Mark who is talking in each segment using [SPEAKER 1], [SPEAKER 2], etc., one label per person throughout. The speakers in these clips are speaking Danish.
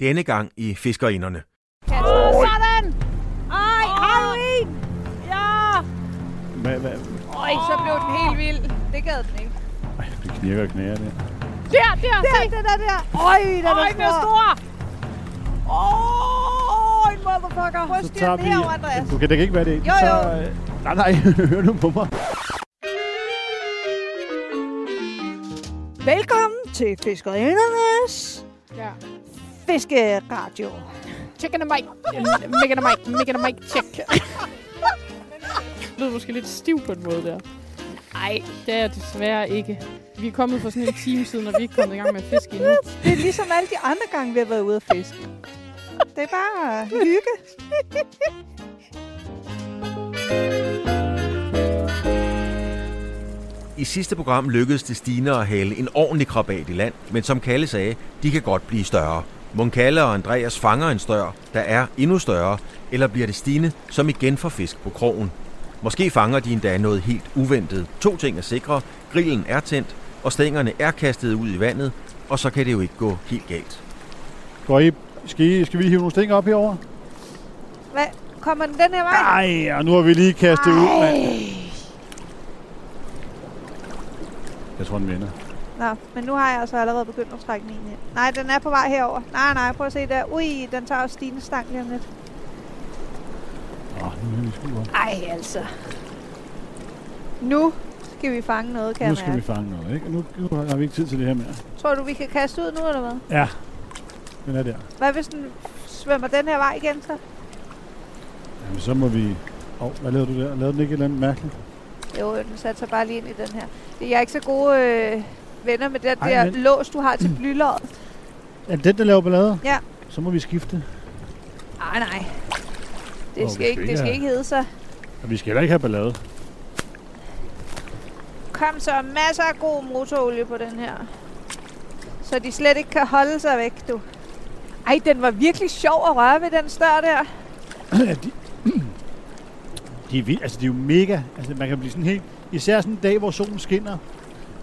[SPEAKER 1] Denne gang i Fiskerinderne.
[SPEAKER 2] Åh, sådan! Ej, har du en? Ja!
[SPEAKER 3] Hvad, hvad?
[SPEAKER 2] Øj, så blev den helt vild. Det gad den ikke.
[SPEAKER 3] Ej, det knirker og knager det.
[SPEAKER 2] Der, der, der se!
[SPEAKER 4] Den der der. Øj, den
[SPEAKER 2] Øj, den er stor!
[SPEAKER 4] Øj, motherfucker. Prøv at
[SPEAKER 3] Så
[SPEAKER 4] styre
[SPEAKER 3] tager
[SPEAKER 4] den
[SPEAKER 3] vi...
[SPEAKER 4] herover, Andreas.
[SPEAKER 3] Okay, det kan ikke være det.
[SPEAKER 4] Jo, jo.
[SPEAKER 3] Så, øh, nej, nej, hør nu på mig.
[SPEAKER 4] Velkommen til Fiskerindernes
[SPEAKER 2] Ja.
[SPEAKER 4] Fiskeradio.
[SPEAKER 2] Chicken and mic. Chicken and mic. Chicken and mic. Check.
[SPEAKER 5] lød måske lidt stiv på en måde der. Nej, det er jeg desværre ikke. Vi er kommet for sådan en time siden, og vi er ikke kommet i gang med at fiske endnu.
[SPEAKER 4] Det er ligesom alle de andre gange, vi har været ude at fiske. Det er bare hygge.
[SPEAKER 1] I sidste program lykkedes det Stine at hale en ordentlig krabat i land, men som Kalle sagde, de kan godt blive større. Mon Kalle og Andreas fanger en større, der er endnu større, eller bliver det Stine, som igen får fisk på krogen. Måske fanger de endda noget helt uventet. To ting er sikre, grillen er tændt, og stængerne er kastet ud i vandet, og så kan det jo ikke gå helt galt.
[SPEAKER 3] Går I, skal, I, skal vi hive nogle sting op herover?
[SPEAKER 4] Hvad? Kommer den den her vej?
[SPEAKER 3] Nej, og nu har vi lige kastet ud, mand. Jeg tror, den vinder.
[SPEAKER 4] Nå, men nu har jeg altså allerede begyndt at trække min ind. Nej, den er på vej herover. Nej, nej, prøv at se der. Ui, den tager også Stines stang lige om lidt.
[SPEAKER 3] Åh, nu er vi sgu op.
[SPEAKER 4] Ej, altså. Nu skal vi fange noget, kan
[SPEAKER 3] Nu
[SPEAKER 4] jeg
[SPEAKER 3] skal vi
[SPEAKER 4] mærke.
[SPEAKER 3] fange noget, ikke? Nu, nu har vi ikke tid til det her mere.
[SPEAKER 4] Tror du, vi kan kaste ud nu, eller hvad?
[SPEAKER 3] Ja, den er der.
[SPEAKER 4] Hvad hvis den svømmer den her vej igen, så?
[SPEAKER 3] Jamen, så må vi... Åh, oh, hvad lavede du der? Lavede den ikke et eller andet mærkeligt?
[SPEAKER 4] Jo, den satte sig bare lige ind i den her. Jeg er ikke så gode øh, venner med den
[SPEAKER 3] Ej,
[SPEAKER 4] der
[SPEAKER 3] men-
[SPEAKER 4] lås, du har til blylåret.
[SPEAKER 3] Er det den, der laver ballade?
[SPEAKER 4] Ja.
[SPEAKER 3] Så må vi skifte.
[SPEAKER 4] Nej, nej.
[SPEAKER 3] Åh,
[SPEAKER 4] Det
[SPEAKER 3] vi
[SPEAKER 4] skal, ikke,
[SPEAKER 3] skal
[SPEAKER 4] det skal
[SPEAKER 3] ikke
[SPEAKER 4] ikke hedde sig.
[SPEAKER 3] Og vi skal heller ikke have ballade.
[SPEAKER 4] Kom så, masser af god motorolie på den her. Så de slet ikke kan holde sig væk, du. Ej, den var virkelig sjov at røre ved, den stør der.
[SPEAKER 3] Ja, de, de, er vild, altså, de er jo mega. Altså, man kan blive sådan helt... Især sådan en dag, hvor solen skinner,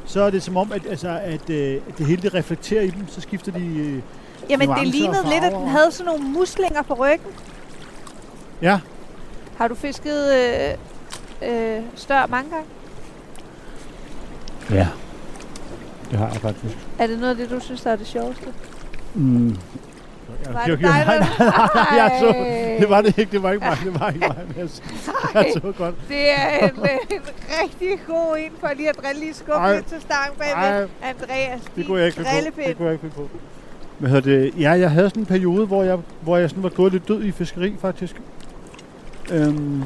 [SPEAKER 3] så er det som om, at, altså, at, øh, at det hele det reflekterer i dem. Så skifter de... Øh,
[SPEAKER 4] Jamen,
[SPEAKER 3] Nuancer
[SPEAKER 4] det
[SPEAKER 3] og
[SPEAKER 4] lignede lidt, at den
[SPEAKER 3] farver.
[SPEAKER 4] havde sådan nogle muslinger på ryggen.
[SPEAKER 3] ja,
[SPEAKER 4] Har du fisket øh, øh, stør mange gange?
[SPEAKER 3] Ja, det har jeg faktisk.
[SPEAKER 4] Er det noget af det, du synes, der er det sjoveste?
[SPEAKER 3] Mm.
[SPEAKER 4] Var det
[SPEAKER 3] Jeg, jeg,
[SPEAKER 4] dig,
[SPEAKER 3] jeg, nej,
[SPEAKER 4] der-
[SPEAKER 3] nej, nej, jeg så,
[SPEAKER 4] Ej.
[SPEAKER 3] det var det ikke, det var ikke mig, det var ikke mig, men jeg, så- jeg så godt.
[SPEAKER 4] Det er en, øh, en rigtig god en for lige at drille lige skub
[SPEAKER 3] Ej.
[SPEAKER 4] lidt til stangen bagved. Andreas,
[SPEAKER 3] Det
[SPEAKER 4] din
[SPEAKER 3] kunne jeg ikke finde på.
[SPEAKER 4] drillepind.
[SPEAKER 3] Det kunne jeg ikke finde på. Hvad hedder det? Ja, jeg havde sådan en periode, hvor jeg, hvor jeg sådan var gået lidt død i fiskeri, faktisk. Øhm,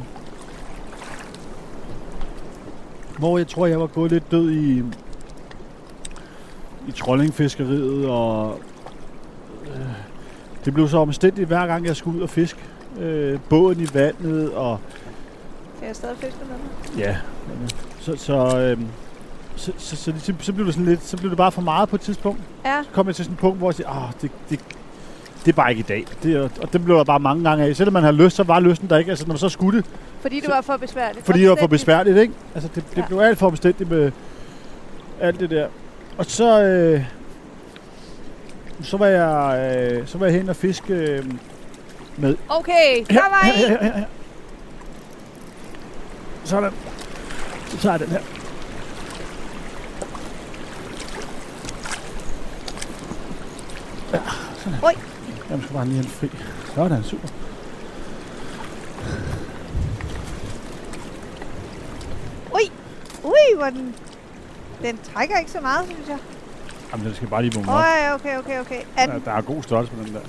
[SPEAKER 3] hvor jeg tror, jeg var gået lidt død i, i trollingfiskeriet, og øh, det blev så omstændigt, hver gang jeg skulle ud og fiske. Øh, båden i vandet, og
[SPEAKER 4] Kan jeg stadig fiske med mig?
[SPEAKER 3] Ja. Så, så, øhm, så, så, så, så, så, blev det sådan lidt, så blev det bare for meget på et tidspunkt.
[SPEAKER 4] Ja.
[SPEAKER 3] Så kom jeg til sådan et punkt, hvor jeg sagde, ah, det, det, det er bare ikke i dag. Det, er- og det blev der bare mange gange af. Selvom man havde lyst, så var lysten der ikke. Altså, når man så skulle det,
[SPEAKER 4] Fordi det
[SPEAKER 3] Så-
[SPEAKER 4] var for besværligt.
[SPEAKER 3] fordi det var for
[SPEAKER 4] Omstændigt.
[SPEAKER 3] besværligt, ikke? Altså, det, det
[SPEAKER 4] Ja.
[SPEAKER 3] ja. blev alt for omstændigt med alt det der. Og så, øh, så var jeg, øh, så var jeg hen og fiske øh, med
[SPEAKER 4] Okay, der var en.
[SPEAKER 3] her, her, her. Sådan. Så tager jeg den her. Ja, sådan.
[SPEAKER 4] Oj.
[SPEAKER 3] Jeg skal bare lige have den fri. Sådan, super.
[SPEAKER 4] Ui, hvor den... Den trækker ikke så meget, synes jeg.
[SPEAKER 3] Jamen, den skal bare lige bunge op.
[SPEAKER 4] Øj, okay, okay, okay. Er
[SPEAKER 3] Der,
[SPEAKER 4] den...
[SPEAKER 3] der er god størrelse på den der.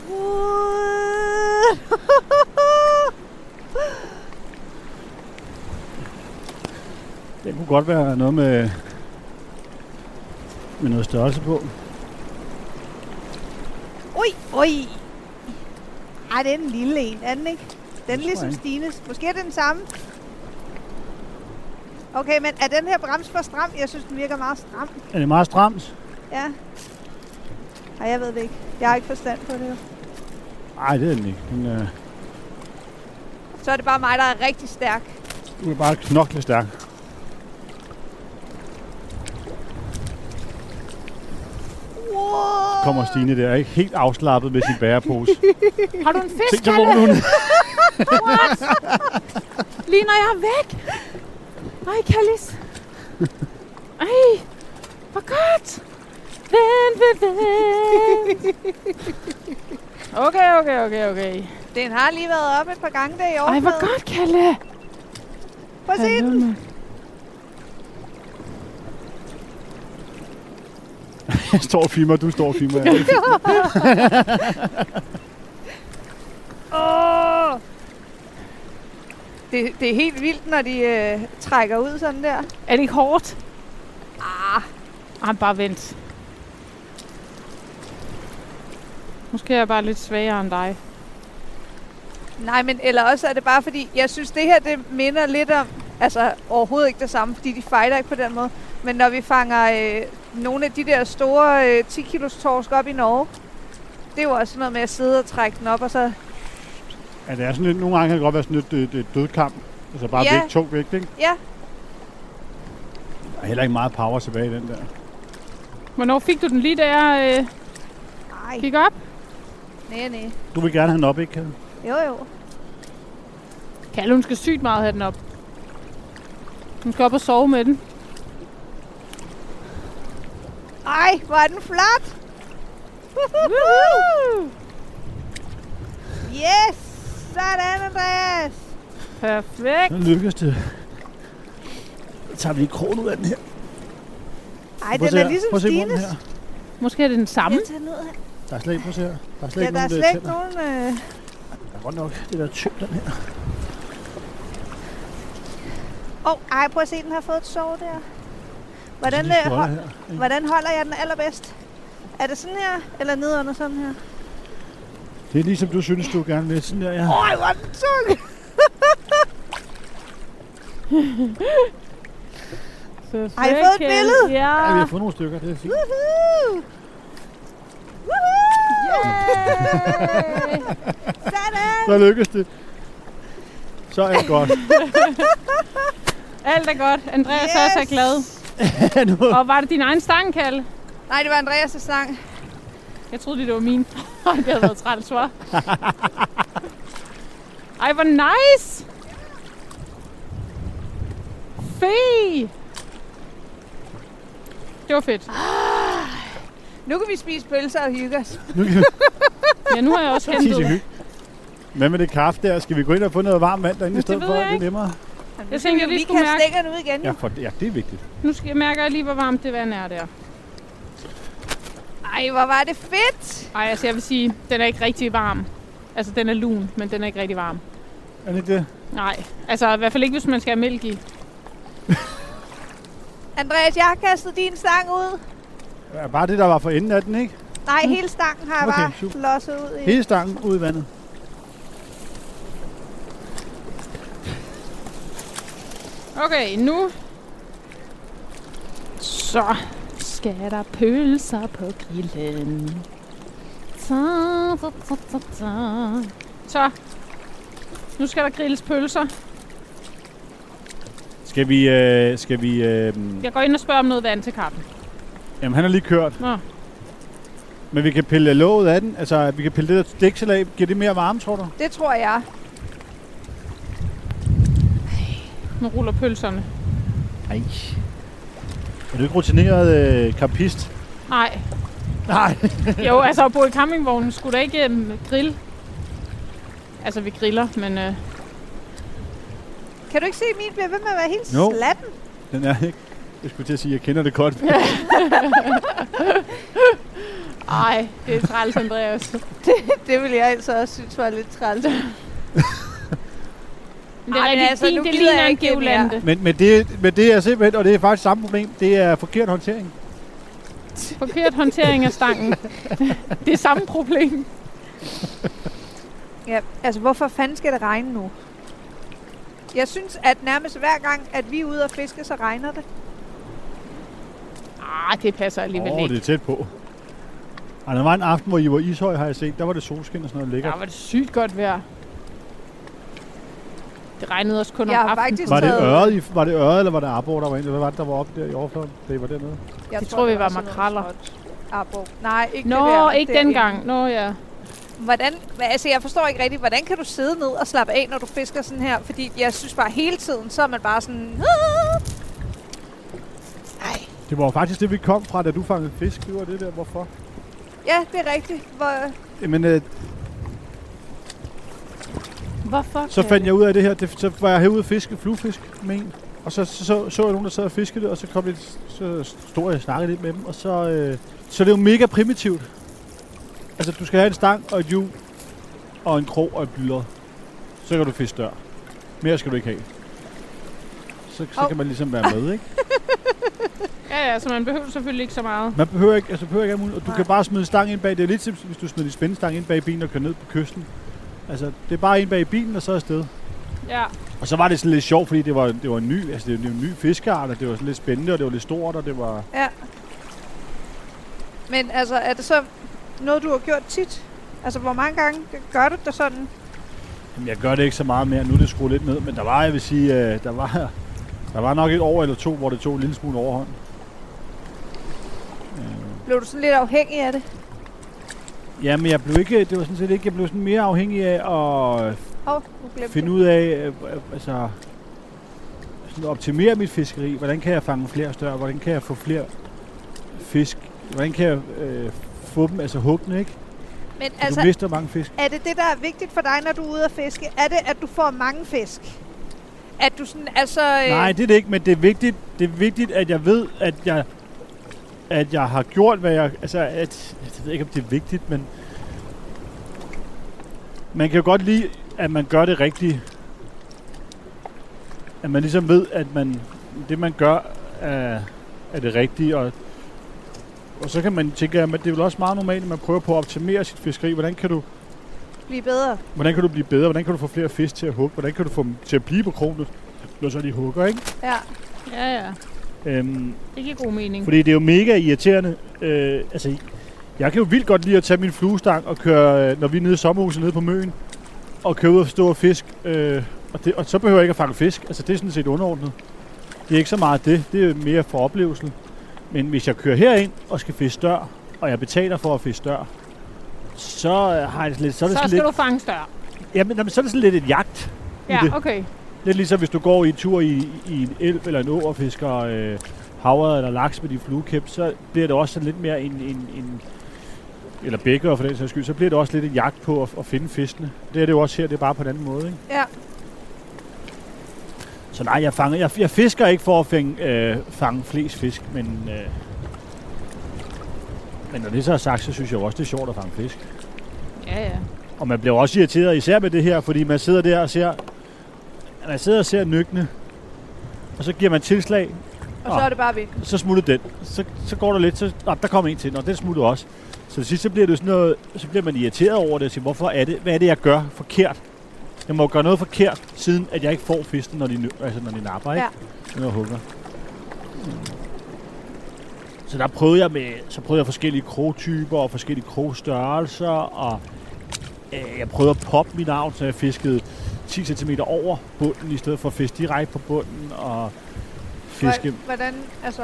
[SPEAKER 3] Den kunne godt være noget med, med noget størrelse på.
[SPEAKER 4] Ui, ui. Ej, det er en lille en, er den ikke? Den er
[SPEAKER 3] tror
[SPEAKER 4] ligesom
[SPEAKER 3] jeg ikke.
[SPEAKER 4] Stines. Måske er det den samme. Okay, men er den her brems for stram? Jeg synes, den virker meget stram.
[SPEAKER 3] Er det meget stramt?
[SPEAKER 4] Ja. Ej, jeg ved det ikke. Jeg har ikke forstand på det. jo.
[SPEAKER 3] Nej, det er den ikke. Den, øh,
[SPEAKER 4] Så er det bare mig, der er rigtig stærk.
[SPEAKER 3] du er bare knokle stærk.
[SPEAKER 4] Wow!
[SPEAKER 3] kommer Stine der, ikke? Helt afslappet med sin bærepose.
[SPEAKER 5] Har du en
[SPEAKER 3] Tænk,
[SPEAKER 5] fisk,
[SPEAKER 3] så vågner hun.
[SPEAKER 5] Lige når jeg er væk. Ej, Kallis. Ej, hvor godt. Vent, vent, vent. Okay, okay, okay, okay.
[SPEAKER 4] Den har lige været op et par gange der i år.
[SPEAKER 5] Ej, hvor godt, Kalle.
[SPEAKER 4] Prøv at se den.
[SPEAKER 5] Hallo, mand.
[SPEAKER 3] Jeg står og filmer, du står og filmer. Jeg.
[SPEAKER 4] Åh! Det, det er helt vildt, når de øh, trækker ud sådan der.
[SPEAKER 5] Er det ikke hårdt? Ah. Ah, bare vent. Måske er jeg bare lidt svagere end dig.
[SPEAKER 4] Nej, men eller også er det bare fordi, jeg synes det her, det minder lidt om, altså overhovedet ikke det samme, fordi de fighter ikke på den måde, men når vi fanger øh, nogle af de der store øh, 10 kilos torsk op i Norge, det er jo også sådan noget med at sidde og trække den op, og så,
[SPEAKER 3] Ja, det er sådan lidt, nogle gange kan det godt være sådan lidt øh, øh, dødkamp. Altså bare
[SPEAKER 4] Ja.
[SPEAKER 3] vægt, tung vægt, ikke?
[SPEAKER 4] ja,
[SPEAKER 3] Der er heller ikke meget power tilbage i den der.
[SPEAKER 5] Hvornår fik du den lige der øh,
[SPEAKER 4] nej,
[SPEAKER 5] gik op?
[SPEAKER 4] nej, nej,
[SPEAKER 3] Du vil gerne have den op, ikke? Kalle?
[SPEAKER 4] jo jo.
[SPEAKER 5] Kalle, hun skal sygt meget have den op. Hun skal op og sove med den.
[SPEAKER 4] Ej, hvor er den flot! yes! Sådan, Andreas!
[SPEAKER 5] Perfekt.
[SPEAKER 3] Så lykkes det. Så tager vi lige krogen ud af den her.
[SPEAKER 4] Ej,
[SPEAKER 3] Prøv
[SPEAKER 4] den
[SPEAKER 3] at se
[SPEAKER 4] er
[SPEAKER 3] her.
[SPEAKER 4] ligesom
[SPEAKER 3] Prøv at se munden
[SPEAKER 4] Stines.
[SPEAKER 3] her.
[SPEAKER 5] Måske er det den samme.
[SPEAKER 4] Jeg tager ned her.
[SPEAKER 3] Der er slet ikke, prøv at se her. Der er slet
[SPEAKER 4] Ja,
[SPEAKER 3] ikke
[SPEAKER 4] der er
[SPEAKER 3] nogen,
[SPEAKER 4] slet ikke
[SPEAKER 3] tænder.
[SPEAKER 4] nogen... Øh...
[SPEAKER 3] Der er godt nok det der tyk, den her.
[SPEAKER 4] Oh, ej, prøv at se, den har fået et sår der. Hvordan,
[SPEAKER 3] Så lige
[SPEAKER 4] øh,
[SPEAKER 3] folde
[SPEAKER 4] hold,
[SPEAKER 3] her.
[SPEAKER 4] hvordan holder jeg den allerbedst? Er det sådan her, eller ned under sådan her?
[SPEAKER 3] Det er ligesom du synes, du gerne vil. Sådan der, ja.
[SPEAKER 4] Ej, hvor er den tung!
[SPEAKER 5] Perfekt,
[SPEAKER 4] Har I fået et
[SPEAKER 5] Kalle.
[SPEAKER 4] billede?
[SPEAKER 5] Ja.
[SPEAKER 3] Ja, vi har fået nogle stykker, det er fint.
[SPEAKER 4] Woohoo! Woohoo!
[SPEAKER 5] Yay!
[SPEAKER 4] Sådan!
[SPEAKER 3] Så lykkes det. Så er det godt.
[SPEAKER 5] Alt er godt. Andreas yes. er også er glad.
[SPEAKER 3] nu.
[SPEAKER 5] Og var det din egen stang, Kalle?
[SPEAKER 4] Nej, det var Andreas' sang.
[SPEAKER 5] Jeg troede lige, det var min. Ej, det havde været træls, hva'? Ej, hvor nice! Fee! Det var fedt.
[SPEAKER 4] Nu kan vi spise pølser og hygge os.
[SPEAKER 3] Nu kan vi
[SPEAKER 5] Ja, nu har jeg også
[SPEAKER 3] tisse
[SPEAKER 5] hentet.
[SPEAKER 3] hygge. Hvad med det kaffe der? Skal vi gå ind og få noget varmt vand derinde i
[SPEAKER 5] Det
[SPEAKER 3] stedet
[SPEAKER 5] ved
[SPEAKER 3] for?
[SPEAKER 5] jeg
[SPEAKER 3] Det er
[SPEAKER 5] ikke.
[SPEAKER 3] nemmere.
[SPEAKER 5] Jeg tænkte, jeg lige
[SPEAKER 4] Vi
[SPEAKER 5] skulle
[SPEAKER 4] kan
[SPEAKER 5] mærke-
[SPEAKER 4] stikkerne ud igen.
[SPEAKER 3] Ja,
[SPEAKER 4] Ja.
[SPEAKER 3] for det, ja, det er vigtigt.
[SPEAKER 5] Nu skal jeg mærker jeg lige, hvor varmt det vand er der.
[SPEAKER 4] Ej, hvor var det fedt!
[SPEAKER 5] Ej, altså jeg vil sige, den er ikke rigtig varm. Altså, den er lun, men den er ikke rigtig varm.
[SPEAKER 3] Er det ikke det?
[SPEAKER 5] Nej, altså i hvert fald ikke, hvis man skal have mælk i.
[SPEAKER 4] Andreas, jeg har kastet din stang ud.
[SPEAKER 3] Ja, bare det, der var for enden af den, ikke?
[SPEAKER 4] Nej, hele stangen har jeg
[SPEAKER 3] Mm. Okay,
[SPEAKER 4] bare
[SPEAKER 3] super.
[SPEAKER 4] losset ud i.
[SPEAKER 3] Hele stangen ud i vandet.
[SPEAKER 5] Okay, nu... Så skal der pølser på grillen. Ta, ta, ta, ta, ta. Så, nu skal der grilles pølser.
[SPEAKER 3] Skal vi... Øh, skal vi øh,
[SPEAKER 5] Jeg går ind og spørger om noget vand til kaffen.
[SPEAKER 3] Jamen, han er lige kørt.
[SPEAKER 5] Nå.
[SPEAKER 3] Men vi kan pille låget af den. Altså, vi kan pille det der dæksel af. Giver det mere varme, tror du?
[SPEAKER 4] Det tror jeg.
[SPEAKER 5] Nu ruller pølserne.
[SPEAKER 3] Nej. Er du ikke rutineret øh, kampist?
[SPEAKER 5] Nej,
[SPEAKER 3] Nej.
[SPEAKER 5] jo, altså at bo i campingvognen skulle da ikke øhm, grille. Altså, vi griller, men øh,
[SPEAKER 4] Kan du ikke se, at min bliver ved med at være helt
[SPEAKER 3] Jo.
[SPEAKER 4] no. slatten?
[SPEAKER 3] Den er ikke... Jeg skulle til at sige, at jeg kender det godt.
[SPEAKER 5] ej, det er træls, Andreas.
[SPEAKER 4] Det ville jeg altså også synes var lidt træls.
[SPEAKER 5] Men det er
[SPEAKER 4] Ej, men
[SPEAKER 5] rigtigt,
[SPEAKER 4] altså,
[SPEAKER 5] altså, din,
[SPEAKER 4] nu
[SPEAKER 5] det
[SPEAKER 4] gider
[SPEAKER 5] ligner
[SPEAKER 4] jeg
[SPEAKER 5] en
[SPEAKER 4] ikke det mere.
[SPEAKER 5] geolante.
[SPEAKER 3] Men, men, det, men det er simpelthen, og det er faktisk samme problem, det er forkert håndtering.
[SPEAKER 5] Forkert håndtering af stangen. det er samme problem.
[SPEAKER 4] Ja, altså hvorfor fanden skal det regne nu? Jeg synes, at nærmest hver gang, at vi er ude og fiske, så regner det.
[SPEAKER 5] Ah, det passer alligevel
[SPEAKER 3] Åh,
[SPEAKER 5] oh, ikke.
[SPEAKER 3] det er tæt på. Ej, der var en aften, hvor I var i Ishøj, har jeg set. Der var det solskin og sådan noget
[SPEAKER 5] Der
[SPEAKER 3] lækkert.
[SPEAKER 5] var Ah, det sygt godt vejr. Det regnede også kun
[SPEAKER 4] Jeg
[SPEAKER 5] om
[SPEAKER 4] har
[SPEAKER 5] aftenen.
[SPEAKER 4] faktisk
[SPEAKER 3] Var det
[SPEAKER 4] taget-
[SPEAKER 3] øret, I, var det øret eller var det arbor, der var inde? Hvad var det, der var oppe der i overfladen? Det var dernede.
[SPEAKER 4] Jeg
[SPEAKER 5] tror, vi
[SPEAKER 4] det
[SPEAKER 5] var
[SPEAKER 4] sådan noget
[SPEAKER 5] makraller.
[SPEAKER 4] småt. Arbo. Nej, ikke det
[SPEAKER 5] Nå,
[SPEAKER 4] der.
[SPEAKER 5] ikke
[SPEAKER 4] Det er
[SPEAKER 5] dengang. Nå ja.
[SPEAKER 4] Hvordan, hva- altså jeg forstår ikke rigtigt, hvordan kan du sidde ned og slappe af, når du fisker sådan her? Fordi jeg synes bare hele tiden, så er man bare sådan... "Ah." Ej,
[SPEAKER 3] Det var jo faktisk det, vi kom fra, da du fangede fisk. Det var det der, hvorfor?
[SPEAKER 4] ja, det er rigtigt. Hvor,
[SPEAKER 3] Jamen, øh,
[SPEAKER 5] Hvorfor?
[SPEAKER 3] så fandt jeg ud af det her. Det, så var jeg herude og fiske fluefisk med en. Og så så, så, så jeg nogen, der sad og fiskede det, og så, kom jeg, så stod jeg og snakkede lidt med dem. Og så, øh, så det er jo mega primitivt. Altså, du skal have en stang og et hjul, og en krog og et bylder. Så kan du fiske dør. Mere skal du ikke have. Så, så
[SPEAKER 4] Hov.
[SPEAKER 3] oh. kan man ligesom være med, ikke?
[SPEAKER 5] Ja, ja, så man behøver selvfølgelig ikke så meget.
[SPEAKER 3] Man behøver ikke, altså behøver ikke alt muligt, og du
[SPEAKER 4] Nej.
[SPEAKER 3] kan bare smide stangen ind bag, det er lidt som hvis du smider din spændestang ind bag bilen og kører ned på kysten. Altså, det er bare ind bag bilen og så afsted.
[SPEAKER 5] Ja.
[SPEAKER 3] Og så var det sådan lidt sjovt, fordi det var, det var en ny, altså det var en ny fiskeart, og det var sådan lidt spændende, og det var lidt stort, og det var...
[SPEAKER 4] ja. Men altså, er det så noget, du har gjort tit? Altså, hvor mange gange gør du det sådan?
[SPEAKER 3] Jamen, jeg gør det ikke så meget mere, nu er det skruet lidt ned, men der var, jeg vil sige, øh, der var, der var nok et år eller to, hvor det tog en lille smule overhånd.
[SPEAKER 4] Blev du sådan lidt afhængig af det?
[SPEAKER 3] Ja, men jeg blev ikke, det var sådan set ikke, jeg blev sådan mere afhængig af at
[SPEAKER 4] Åh, oh, nu glemte
[SPEAKER 3] finde
[SPEAKER 4] jeg.
[SPEAKER 3] ud af, øh, øh, altså sådan optimere mit fiskeri. Hvordan kan jeg fange flere større? Hvordan kan jeg få flere fisk? Hvordan kan jeg øh, få dem, altså hugge dem, ikke?
[SPEAKER 4] Men
[SPEAKER 3] Altså,
[SPEAKER 4] altså,
[SPEAKER 3] du mister mange fisk.
[SPEAKER 4] Er det det, der er vigtigt for dig, når du er ude at fiske? Er det, at du får mange fisk? At du sådan, altså... øh,
[SPEAKER 3] Nej, det er det ikke, men det er vigtigt, det er vigtigt at jeg ved, at jeg, at jeg har gjort, hvad jeg... Altså, at, jeg ved ikke, om det er vigtigt, men... Man kan jo godt lide, at man gør det rigtige. At man ligesom ved, at man, det, man gør, er, er det rigtige. Og, og så kan man tænke, at det er vel også meget normalt, at man prøver på at optimere sit fiskeri. Hvordan kan du
[SPEAKER 4] Blive bedre.
[SPEAKER 3] Hvordan kan du blive bedre? Hvordan kan du få flere fisk til at hugge? Hvordan kan du få dem til at blive på kronet, når så de hugger, ikke?
[SPEAKER 4] Ja.
[SPEAKER 5] Ja, ja.
[SPEAKER 3] Øhm,
[SPEAKER 5] Det giver god mening.
[SPEAKER 3] fordi det er jo mega irriterende. Øh, altså, jeg kan jo vildt godt lide at tage min fluestang og køre, øh, når vi er nede i sommerhuset nede på Møen, og køre ud og stå og fisk. Øh, og, det, og så behøver jeg ikke at fange fisk. Altså, det er sådan set underordnet. Det er ikke så meget det. Det er mere for oplevelsen. Men hvis jeg kører herind og skal fiske dør, og jeg betaler for at fiske dør, så øh, har jeg det lidt... Så er det
[SPEAKER 5] så
[SPEAKER 3] sådan
[SPEAKER 5] skal
[SPEAKER 3] lidt,
[SPEAKER 5] du fange større.
[SPEAKER 3] jamen, jamen, så er det sådan lidt et jagt. i det.
[SPEAKER 5] Ja, okay.
[SPEAKER 3] Lidt ligesom hvis du går i en tur i, i en elv eller en å og fisker øh, havret eller laks med din fluekæp, så bliver det også sådan lidt mere en, en, en eller bækker for den sags skyld, så bliver det også lidt en jagt på at, at finde fiskene. Det er det jo også her, det er bare på en anden måde. Ikke?
[SPEAKER 4] Ja.
[SPEAKER 3] Så nej, jeg, fanger, jeg, jeg fisker ikke for at fange, øh, fange flest fisk, men, øh, men når det så er sagt, så synes jeg jo også, det er sjovt at fange fisk.
[SPEAKER 5] Ja, ja.
[SPEAKER 3] Og man bliver jo også irriteret, især med det her, fordi man sidder der og ser, man sidder og ser nøgne, og så giver man tilslag,
[SPEAKER 4] Og så
[SPEAKER 3] Ah.
[SPEAKER 4] er det bare ved.
[SPEAKER 3] så smutter den. Så, så går der lidt, så ah, der kommer en til, og den smutter også. Så til sidst, så bliver, det sådan noget, så bliver man irriteret over det, og siger, hvorfor er det, hvad er det, jeg gør forkert? Jeg må jo gøre noget forkert, siden at jeg ikke får fisken, når de, nø- altså, når de napper, ikke? Ja. Når jeg hugger. Så der prøvede jeg med, så prøvede jeg forskellige krogtyper og forskellige krogstørrelser, og øh, jeg prøvede at poppe min arm, så jeg fiskede 10 cm over bunden, i stedet for at fiske direkte på bunden, og fiske...
[SPEAKER 4] Hvor- Hvordan, altså...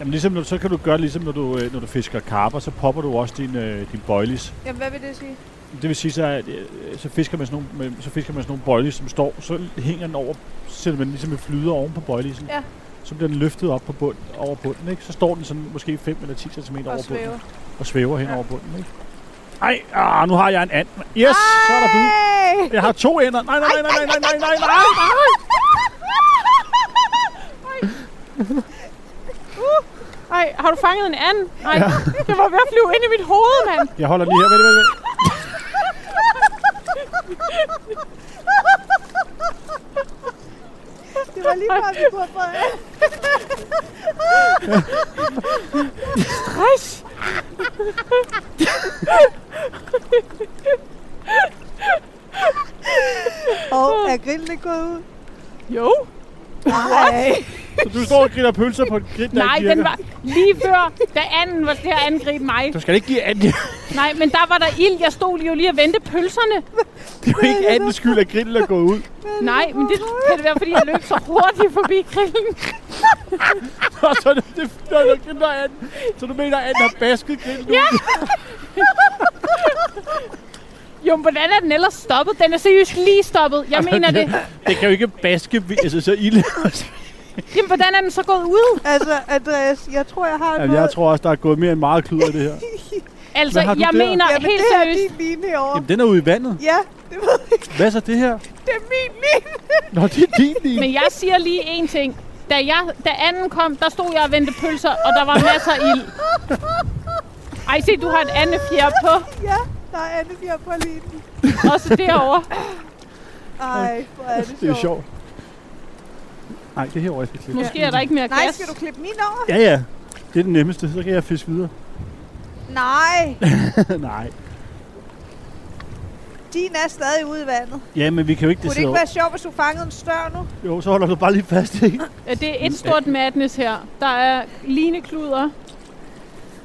[SPEAKER 3] Jamen ligesom, når- så kan du gøre det ligesom, når du, øh, når du fisker karper, så popper du også din, øh, din boilies.
[SPEAKER 4] Jamen, hvad vil det sige?
[SPEAKER 3] Det vil sige, så, at, øh, så, fisker man sådan nogle, med, så fisker man sådan nogle boilies, som står, så hænger den over, så sætter man ligesom en flyder oven på boiliesen.
[SPEAKER 4] Ja.
[SPEAKER 3] Så bliver den løftet op på bund, over bunden, ikke? Så står den sådan måske 5 eller 10 cm over
[SPEAKER 4] Og
[SPEAKER 3] bunden.
[SPEAKER 4] svæve.
[SPEAKER 3] Og svæver hen
[SPEAKER 4] Ja.
[SPEAKER 3] over bunden, ikke? Ej, ah, nu har jeg en and. mand. Yes, så er der bid.
[SPEAKER 4] Hey!
[SPEAKER 3] Jeg har to ender. Nej, nej, nej, nej, nej, nej, nej, nej.
[SPEAKER 5] Ej, har du fanget en and? Nej, ja. jeg var ved at flyve ind i mit hoved, mand.
[SPEAKER 3] Jeg holder lige her. Vent, vent, vent.
[SPEAKER 4] Det var lige før, vi kunne have fået af.
[SPEAKER 5] Stress.
[SPEAKER 2] Og er grillen ikke gået ud?
[SPEAKER 5] Jo.
[SPEAKER 2] Nej.
[SPEAKER 3] Så du står og griller pølser på et grid, der
[SPEAKER 5] Nej,
[SPEAKER 3] ikke
[SPEAKER 5] den
[SPEAKER 3] virker.
[SPEAKER 5] var lige før, da anden var til at angribe mig.
[SPEAKER 6] Du skal ikke give anden.
[SPEAKER 5] Nej, men der var der ild. Jeg stod lige og lige og vente pølserne.
[SPEAKER 3] Det er jo ikke andens skyld, at grillen er gået ud.
[SPEAKER 5] Nej, men det kan det være, fordi jeg løb så hurtigt forbi grillen.
[SPEAKER 3] Og så er det, det, det, det, det, det anden. Så du mener, at anden har basket grillen ja.
[SPEAKER 5] Jo, men hvordan er den ellers stoppet? Den er seriøst lige stoppet. Jeg mener det.
[SPEAKER 3] Altså, Det kan jo ikke baske, vi- altså så ilde.
[SPEAKER 5] Jamen, hvordan er den så gået ud?
[SPEAKER 4] Altså, Andreas, jeg tror, jeg har
[SPEAKER 3] Jamen, jeg tror også, der er gået mere end meget klud af det her.
[SPEAKER 5] Altså,
[SPEAKER 3] Hvad har du
[SPEAKER 5] jeg
[SPEAKER 3] der?
[SPEAKER 5] mener
[SPEAKER 4] Jamen,
[SPEAKER 5] helt
[SPEAKER 4] det her er
[SPEAKER 5] seriøst.
[SPEAKER 4] din line herovre.
[SPEAKER 3] Jamen, den er ude i vandet.
[SPEAKER 4] Ja, det ved jeg ikke.
[SPEAKER 3] Hvad så det her?
[SPEAKER 4] Det er min line.
[SPEAKER 3] Nå, det er din bil.
[SPEAKER 5] Men jeg siger lige én ting. Da, jeg, da anden kom, der stod jeg og vendte pølser, og der var masser af ild. Ej, se, du har et andet fjer på.
[SPEAKER 4] Ja, der er Anne, vi har på linen.
[SPEAKER 5] Også derovre.
[SPEAKER 4] Ej, hvor er det sjovt.
[SPEAKER 3] Det er sjovt. Nej, det er herovre, jeg skal klippe.
[SPEAKER 5] Måske er der ikke mere
[SPEAKER 4] Nej,
[SPEAKER 5] gas.
[SPEAKER 4] skal du klippe min over?
[SPEAKER 3] Ja, ja. Det er den nemmeste. Så kan jeg fiske videre.
[SPEAKER 4] Nej,
[SPEAKER 3] Nej.
[SPEAKER 4] din er stadig ude i vandet.
[SPEAKER 3] Ja, men vi kan jo ikke
[SPEAKER 4] Kunne
[SPEAKER 3] det
[SPEAKER 4] det ikke være sjovt, hvis du fangede en større nu?
[SPEAKER 3] Jo, så holder du bare lige fast i. den.
[SPEAKER 5] Ja, Øh, Det er et stort madness her. Der er linekluder.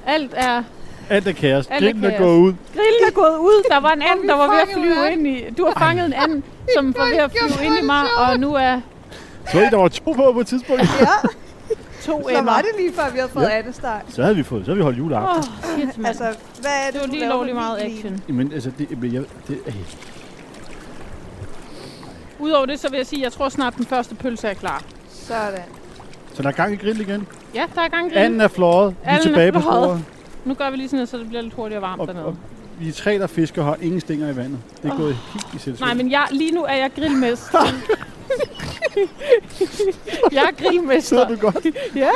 [SPEAKER 5] Alt er...
[SPEAKER 3] Alt er kaos.
[SPEAKER 5] er
[SPEAKER 3] Grillen er
[SPEAKER 5] kaos.
[SPEAKER 3] gået ud.
[SPEAKER 5] Grillen er gået ud. Der var en anden, der var ved at
[SPEAKER 2] fanget
[SPEAKER 5] flyve
[SPEAKER 2] verden.
[SPEAKER 5] ind i... Du har fanget en anden, som var ved at flyve ind i mig, og nu er
[SPEAKER 3] Så var der var to på på et tidspunkt.
[SPEAKER 4] Ja, så
[SPEAKER 5] to
[SPEAKER 4] var
[SPEAKER 5] emmer.
[SPEAKER 4] det lige før, vi havde fået ja. Anne start.
[SPEAKER 3] Så havde vi fået, så havde vi holdt juleaften.
[SPEAKER 5] Åh, shit, mand.
[SPEAKER 4] Altså, hvad er det,
[SPEAKER 5] Det var
[SPEAKER 4] du
[SPEAKER 5] lige
[SPEAKER 4] laver
[SPEAKER 5] lovlig
[SPEAKER 4] med
[SPEAKER 5] meget
[SPEAKER 4] min line?
[SPEAKER 5] action.
[SPEAKER 3] Oh. Men altså, det, men jeg, det, øh.
[SPEAKER 5] Udover det, så vil jeg sige, at jeg tror snart, den første pølse er klar.
[SPEAKER 4] Sådan.
[SPEAKER 3] så der er gang i grillen igen.
[SPEAKER 5] Ja, der er gang i
[SPEAKER 3] Anden er fløjet. Vi er
[SPEAKER 5] Mm. Anden er
[SPEAKER 3] tilbage på
[SPEAKER 5] fløjet.
[SPEAKER 3] sporet.
[SPEAKER 5] Nu gør vi lige sådan, så det bliver lidt hurtigere varmt
[SPEAKER 3] Og, og
[SPEAKER 5] dernede.
[SPEAKER 3] vi er tre, der fisker og har ingen stænger i vandet. Det er oh. gået helt i selvsving.
[SPEAKER 5] Nej, men jeg, lige nu er jeg grillmester. jeg er
[SPEAKER 3] Sidder
[SPEAKER 5] grillmester.
[SPEAKER 3] du godt?
[SPEAKER 5] Ja.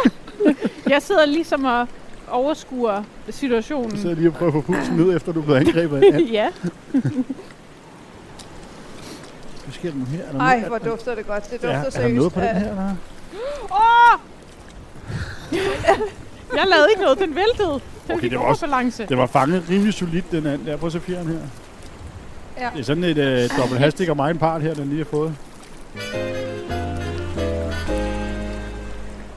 [SPEAKER 5] Jeg sidder ligesom og overskuer
[SPEAKER 3] Du
[SPEAKER 5] situationen.
[SPEAKER 3] sidder lige og prøver at få pulsen ned, efter du er blevet angrebet af en and.
[SPEAKER 5] Ja.
[SPEAKER 3] Hvad sker der nu her? Er der
[SPEAKER 4] Ej,
[SPEAKER 3] noget-
[SPEAKER 4] hvor dufter det godt. Det
[SPEAKER 3] er,
[SPEAKER 4] dufter
[SPEAKER 3] er der noget på den
[SPEAKER 4] af-
[SPEAKER 3] her, eller? hvad?
[SPEAKER 5] Jeg lavede ikke noget, den væltede. Den
[SPEAKER 3] Okay,
[SPEAKER 5] okay,
[SPEAKER 3] det
[SPEAKER 5] det
[SPEAKER 3] var også-
[SPEAKER 5] overbalance.
[SPEAKER 3] Det var fanget rimelig solidt, den anden der. Prøv at se fjeren her.
[SPEAKER 4] Ja.
[SPEAKER 3] Det er sådan et øh, dobbelt hastig og meget part her, den lige har fået.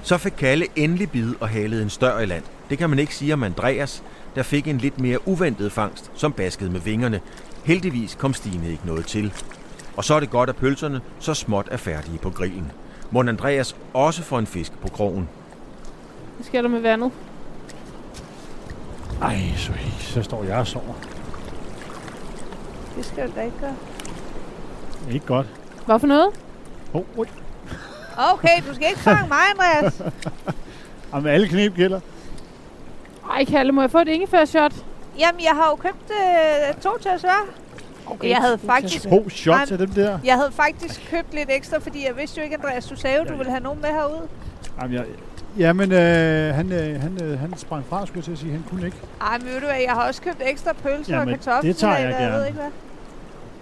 [SPEAKER 1] Så fik Kalle endelig bid og halede en større i land. Det kan man ikke sige om Andreas, der fik en lidt mere uventet fangst, som baskede med vingerne. Heldigvis kom Stine ikke noget til. Og så er det godt, at pølserne så småt er færdige på grillen. Må Andreas også får en fisk på krogen.
[SPEAKER 5] Hvad sker der med vandet?
[SPEAKER 3] Ej, så, så står jeg og sover.
[SPEAKER 4] Det skal du da ikke gøre.
[SPEAKER 3] Det er ikke godt.
[SPEAKER 5] Hvad for noget?
[SPEAKER 3] Oh, oh.
[SPEAKER 4] Okay, du skal ikke fange mig, Andreas.
[SPEAKER 3] Jamen, alle knep gælder.
[SPEAKER 5] Ej, Kalle, må jeg få et ingefær-shot?
[SPEAKER 4] Jamen, jeg har jo købt øh, to til os hver. Okay, jeg havde faktisk...
[SPEAKER 3] To shots
[SPEAKER 4] Nej.
[SPEAKER 3] af dem der.
[SPEAKER 4] Jeg havde faktisk købt lidt ekstra, fordi jeg vidste jo ikke, Andreas, du sagde jo, du ville have nogen med herud.
[SPEAKER 3] Jamen, jeg, jamen øh, han, øh, han, øh, han sprang fra, skulle jeg til at sige. Han kunne ikke.
[SPEAKER 4] Ej, men ved du hvad, jeg har også købt ekstra pølser
[SPEAKER 3] Jamen,
[SPEAKER 4] og kartofler.
[SPEAKER 3] det tager jeg
[SPEAKER 4] Jeg ved
[SPEAKER 3] gerne.
[SPEAKER 4] ikke hvad.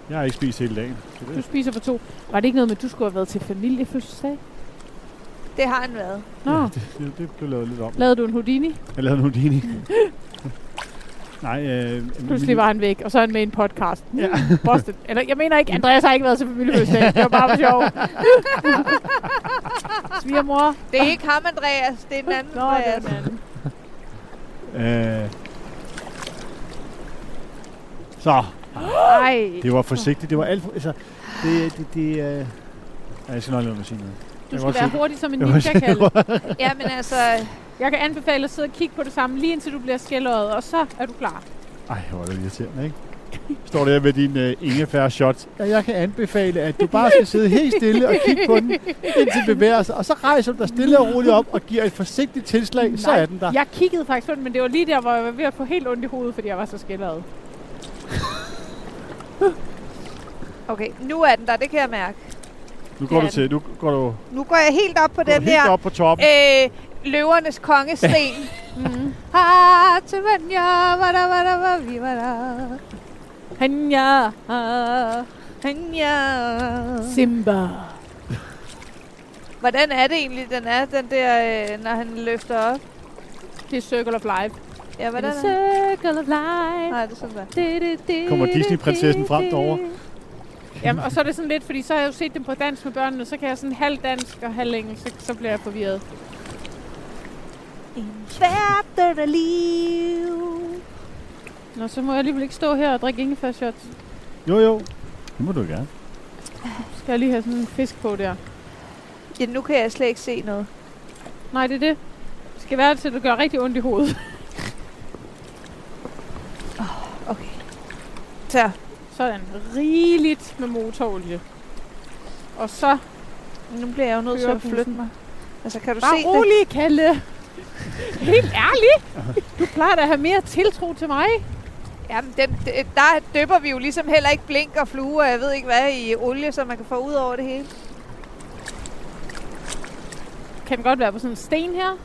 [SPEAKER 3] Jeg har ikke spist hele dagen. Så
[SPEAKER 5] Du
[SPEAKER 3] det,
[SPEAKER 5] spiser for to. Var det ikke noget med, at du skulle have været til familiefødselsdag?
[SPEAKER 4] Det har han været.
[SPEAKER 5] Nå,
[SPEAKER 3] ja, det, det, det blev lavet lidt om.
[SPEAKER 5] lavede du en Houdini?
[SPEAKER 3] Jeg lavede en Houdini. Nej, øh, men-
[SPEAKER 5] Pludselig var han væk, og så er han med i en podcast.
[SPEAKER 3] Ja.
[SPEAKER 5] Ja. Boston. Eller, jeg mener ikke, Andreas har ikke været til familiefødselsdag. Det var bare for sjov. Svigermor.
[SPEAKER 4] Det er ikke ham, Andreas. Det er en anden,
[SPEAKER 5] Nå, det er
[SPEAKER 4] Andreas.
[SPEAKER 5] den anden.
[SPEAKER 3] Øh, så,
[SPEAKER 5] Ej.
[SPEAKER 3] det var forsigtigt. Det var alt for... Altså, det... det, det øh, ja, jeg skal nok lade mig sige noget.
[SPEAKER 5] Du
[SPEAKER 3] Jeg kan
[SPEAKER 5] skal være
[SPEAKER 3] godt se-
[SPEAKER 5] hurtig som en
[SPEAKER 3] Jeg kan
[SPEAKER 5] ninja,
[SPEAKER 3] godt se-
[SPEAKER 5] Kalle.
[SPEAKER 4] Ja, men altså...
[SPEAKER 5] Jeg kan anbefale at sidde og kigge på det samme, lige indtil du bliver skældøjet, og så er du klar.
[SPEAKER 3] Ej, hvor er det irriterende, ikke? Står der med din øh, ingefær shot. Ja, jeg kan anbefale, at du bare skal sidde helt stille og kigge på den, indtil den bevæger sig. Og så rejser du dig stille og roligt op og giver et forsigtigt tilslag, så
[SPEAKER 5] Nej,
[SPEAKER 3] er den der.
[SPEAKER 5] Jeg kiggede faktisk på den, men det var lige der, hvor jeg var ved at få helt ondt i hovedet, fordi jeg var så skældøjet.
[SPEAKER 4] Okay, nu er den der. Det kan jeg mærke.
[SPEAKER 3] Nu går
[SPEAKER 5] Ja.
[SPEAKER 3] du til, nu går du,
[SPEAKER 4] Nu går jeg helt op på
[SPEAKER 3] går du
[SPEAKER 4] den
[SPEAKER 3] helt
[SPEAKER 4] her
[SPEAKER 3] op på toppen.
[SPEAKER 4] øh, løvernes kongesten.
[SPEAKER 3] Mhm.
[SPEAKER 4] mm. Ah, til vand, ja, vada, vada, vada, vi var der.
[SPEAKER 5] Han ja,
[SPEAKER 4] Han, ja.
[SPEAKER 5] Simba.
[SPEAKER 4] Hvordan er det egentlig, den er, den der, øh, når han løfter op?
[SPEAKER 5] Det er Circle of Life.
[SPEAKER 4] Ja, hvordan
[SPEAKER 5] The
[SPEAKER 4] er det?
[SPEAKER 5] Circle of Life.
[SPEAKER 4] Nej, det er sådan der.
[SPEAKER 5] Du, du, du,
[SPEAKER 3] Kommer
[SPEAKER 5] du,
[SPEAKER 3] Disney-prinsessen
[SPEAKER 5] du,
[SPEAKER 3] frem
[SPEAKER 5] du.
[SPEAKER 3] derovre?
[SPEAKER 5] Jamen, og så er det sådan lidt, fordi så har jeg jo set dem på dans med børnene, så kan jeg sådan halv dansk og halv engelsk, så, så bliver jeg forvirret.
[SPEAKER 2] En verden af liv.
[SPEAKER 5] Nå, så må jeg alligevel ikke stå her og drikke ingefærshots.
[SPEAKER 3] Jo, jo. Det må du gerne.
[SPEAKER 5] Så Skal jeg lige have sådan en fisk på der?
[SPEAKER 4] Ja, nu kan jeg slet ikke se noget.
[SPEAKER 5] Nej, det er det. Det skal være til, at det gør rigtig ondt i hovedet.
[SPEAKER 4] Okay. Så,
[SPEAKER 5] Sådan. Rigeligt med motorolie. Og så...
[SPEAKER 4] nu bliver jeg jo nødt til at
[SPEAKER 5] Kørebussen.
[SPEAKER 4] flytte mig. Altså, kan du
[SPEAKER 5] Bare
[SPEAKER 4] se det?
[SPEAKER 5] rolig, Kalle. Helt ærligt. Du plejer da at have mere tiltro til mig.
[SPEAKER 4] Jamen, den, d- der døber vi jo ligesom heller ikke blink og flue, og jeg ved ikke hvad, i olie, så man kan få ud over det hele.
[SPEAKER 5] Kan den godt være på sådan en sten her?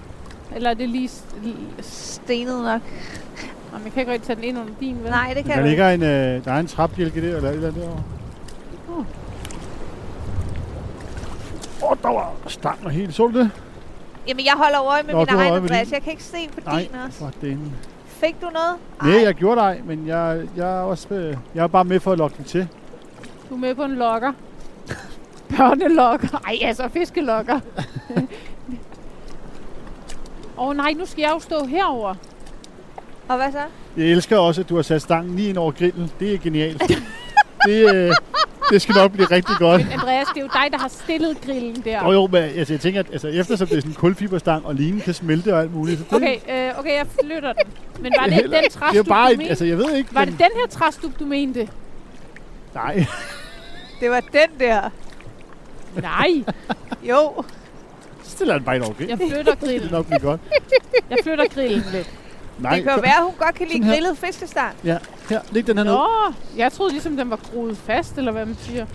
[SPEAKER 5] Eller er det lige... s- lige- s-
[SPEAKER 4] Stenet nok.
[SPEAKER 5] Nå, man kan ikke rigtig tage den ind under din, vel?
[SPEAKER 4] Nej, det kan
[SPEAKER 3] Der
[SPEAKER 4] du ikke.
[SPEAKER 3] ligger en, øh, der er en træbjælke der, eller et eller andet derovre.
[SPEAKER 5] Åh.
[SPEAKER 3] Åh, oh, der var stang og helt. Så du det?
[SPEAKER 4] Jamen, jeg holder øje med
[SPEAKER 3] Nå,
[SPEAKER 4] min
[SPEAKER 3] du holder
[SPEAKER 4] egen,
[SPEAKER 3] øje med
[SPEAKER 4] Andreas.
[SPEAKER 3] din.
[SPEAKER 4] Jeg kan ikke se på
[SPEAKER 3] Nej,
[SPEAKER 4] din også.
[SPEAKER 3] for den.
[SPEAKER 4] Fik du noget?
[SPEAKER 3] Nej, jeg gjorde dig, men jeg, jeg, er også, øh, jeg er bare med for at lokke den til.
[SPEAKER 5] Du er med på en lokker. Børnelokker. Ej, altså fiskelokker. Åh oh, nej, nu skal jeg jo stå herover.
[SPEAKER 4] Og hvad så?
[SPEAKER 3] Jeg elsker også, at du har sat stangen lige ind over grillen. Det er genialt. det, øh, det skal nok blive rigtig godt.
[SPEAKER 5] Andreas, det er jo dig, der har stillet grillen der.
[SPEAKER 3] Jo, jo, men altså, jeg tænker, at altså, eftersom det er sådan en kulfiberstang, og linen kan smelte og alt muligt. Så det,
[SPEAKER 5] Okay, øh, okay, jeg flytter den. Men var det ikke den
[SPEAKER 3] det er
[SPEAKER 5] træstup,
[SPEAKER 3] bare
[SPEAKER 5] du
[SPEAKER 3] et,
[SPEAKER 5] mente?
[SPEAKER 3] altså, jeg ved ikke.
[SPEAKER 5] Var
[SPEAKER 3] men-
[SPEAKER 5] det den her træstup, du mente?
[SPEAKER 3] Nej,
[SPEAKER 4] Det var den der.
[SPEAKER 5] Nej,
[SPEAKER 4] Jo.
[SPEAKER 3] så stiller den bare ind over grillen.
[SPEAKER 5] jeg flytter
[SPEAKER 3] Det
[SPEAKER 5] grillen.
[SPEAKER 3] er nok blive godt.
[SPEAKER 5] Jeg flytter grillen lidt.
[SPEAKER 3] Nej,
[SPEAKER 4] Det kan jo
[SPEAKER 3] så-
[SPEAKER 4] være, hun godt kan lide
[SPEAKER 3] sådan her.
[SPEAKER 4] grillet fiskestang.
[SPEAKER 3] Ja, her, læg den her ned.
[SPEAKER 5] Nå, jeg troede ligesom, den var groet fast, eller hvad man siger.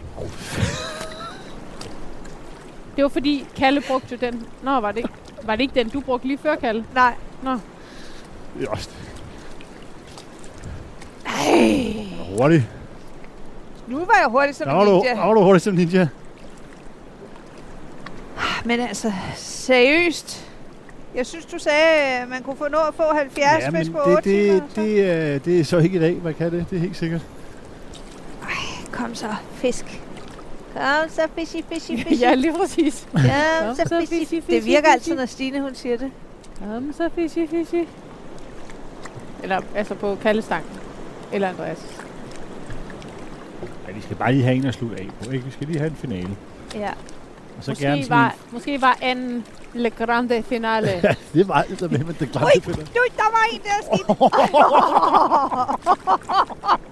[SPEAKER 5] Det var fordi, Kalle brugte jo den. Nå, var det, ikke- var det ikke den, du brugte lige før, Kalle?
[SPEAKER 4] Nej.
[SPEAKER 3] Det er også
[SPEAKER 4] Ej.
[SPEAKER 3] hurtigt.
[SPEAKER 4] Nu var jeg hurtig som
[SPEAKER 3] Der
[SPEAKER 4] en
[SPEAKER 3] var du,
[SPEAKER 4] ninja.
[SPEAKER 3] der var du hurtigt som ninja.
[SPEAKER 4] Men altså, seriøst. Jeg synes, du sagde, at man kunne få nå at få 70 ja, fisk på 8
[SPEAKER 3] det, det,
[SPEAKER 4] timer.
[SPEAKER 3] det,
[SPEAKER 4] Det...
[SPEAKER 3] øh, det er så ikke i dag, man kan det. Det er helt sikkert.
[SPEAKER 4] Kom så, fisk. Kom så, fishy, fishy, fishy.
[SPEAKER 5] Ja, lige præcis.
[SPEAKER 4] Kom
[SPEAKER 5] Kom
[SPEAKER 4] så,
[SPEAKER 5] så,
[SPEAKER 4] fishy,
[SPEAKER 5] fishy,
[SPEAKER 4] fishy. Det
[SPEAKER 5] fishy,
[SPEAKER 4] virker
[SPEAKER 5] fishy.
[SPEAKER 4] altid, når Stine hun siger det.
[SPEAKER 5] Kom så, fishy, fishy. Eller altså på kaldestangen. Eller Andreas.
[SPEAKER 3] Ja, vi skal bare lige have en at slutte af på, ikke? Vi skal lige have en finale.
[SPEAKER 4] Ja.
[SPEAKER 3] Og så gerne
[SPEAKER 5] Måske
[SPEAKER 3] sådan
[SPEAKER 5] var, måske var anden Le Grande Finale.
[SPEAKER 3] en- Det var altså med, men det
[SPEAKER 4] Ui,
[SPEAKER 3] glemte Peter.
[SPEAKER 4] du, der var en der, Stine.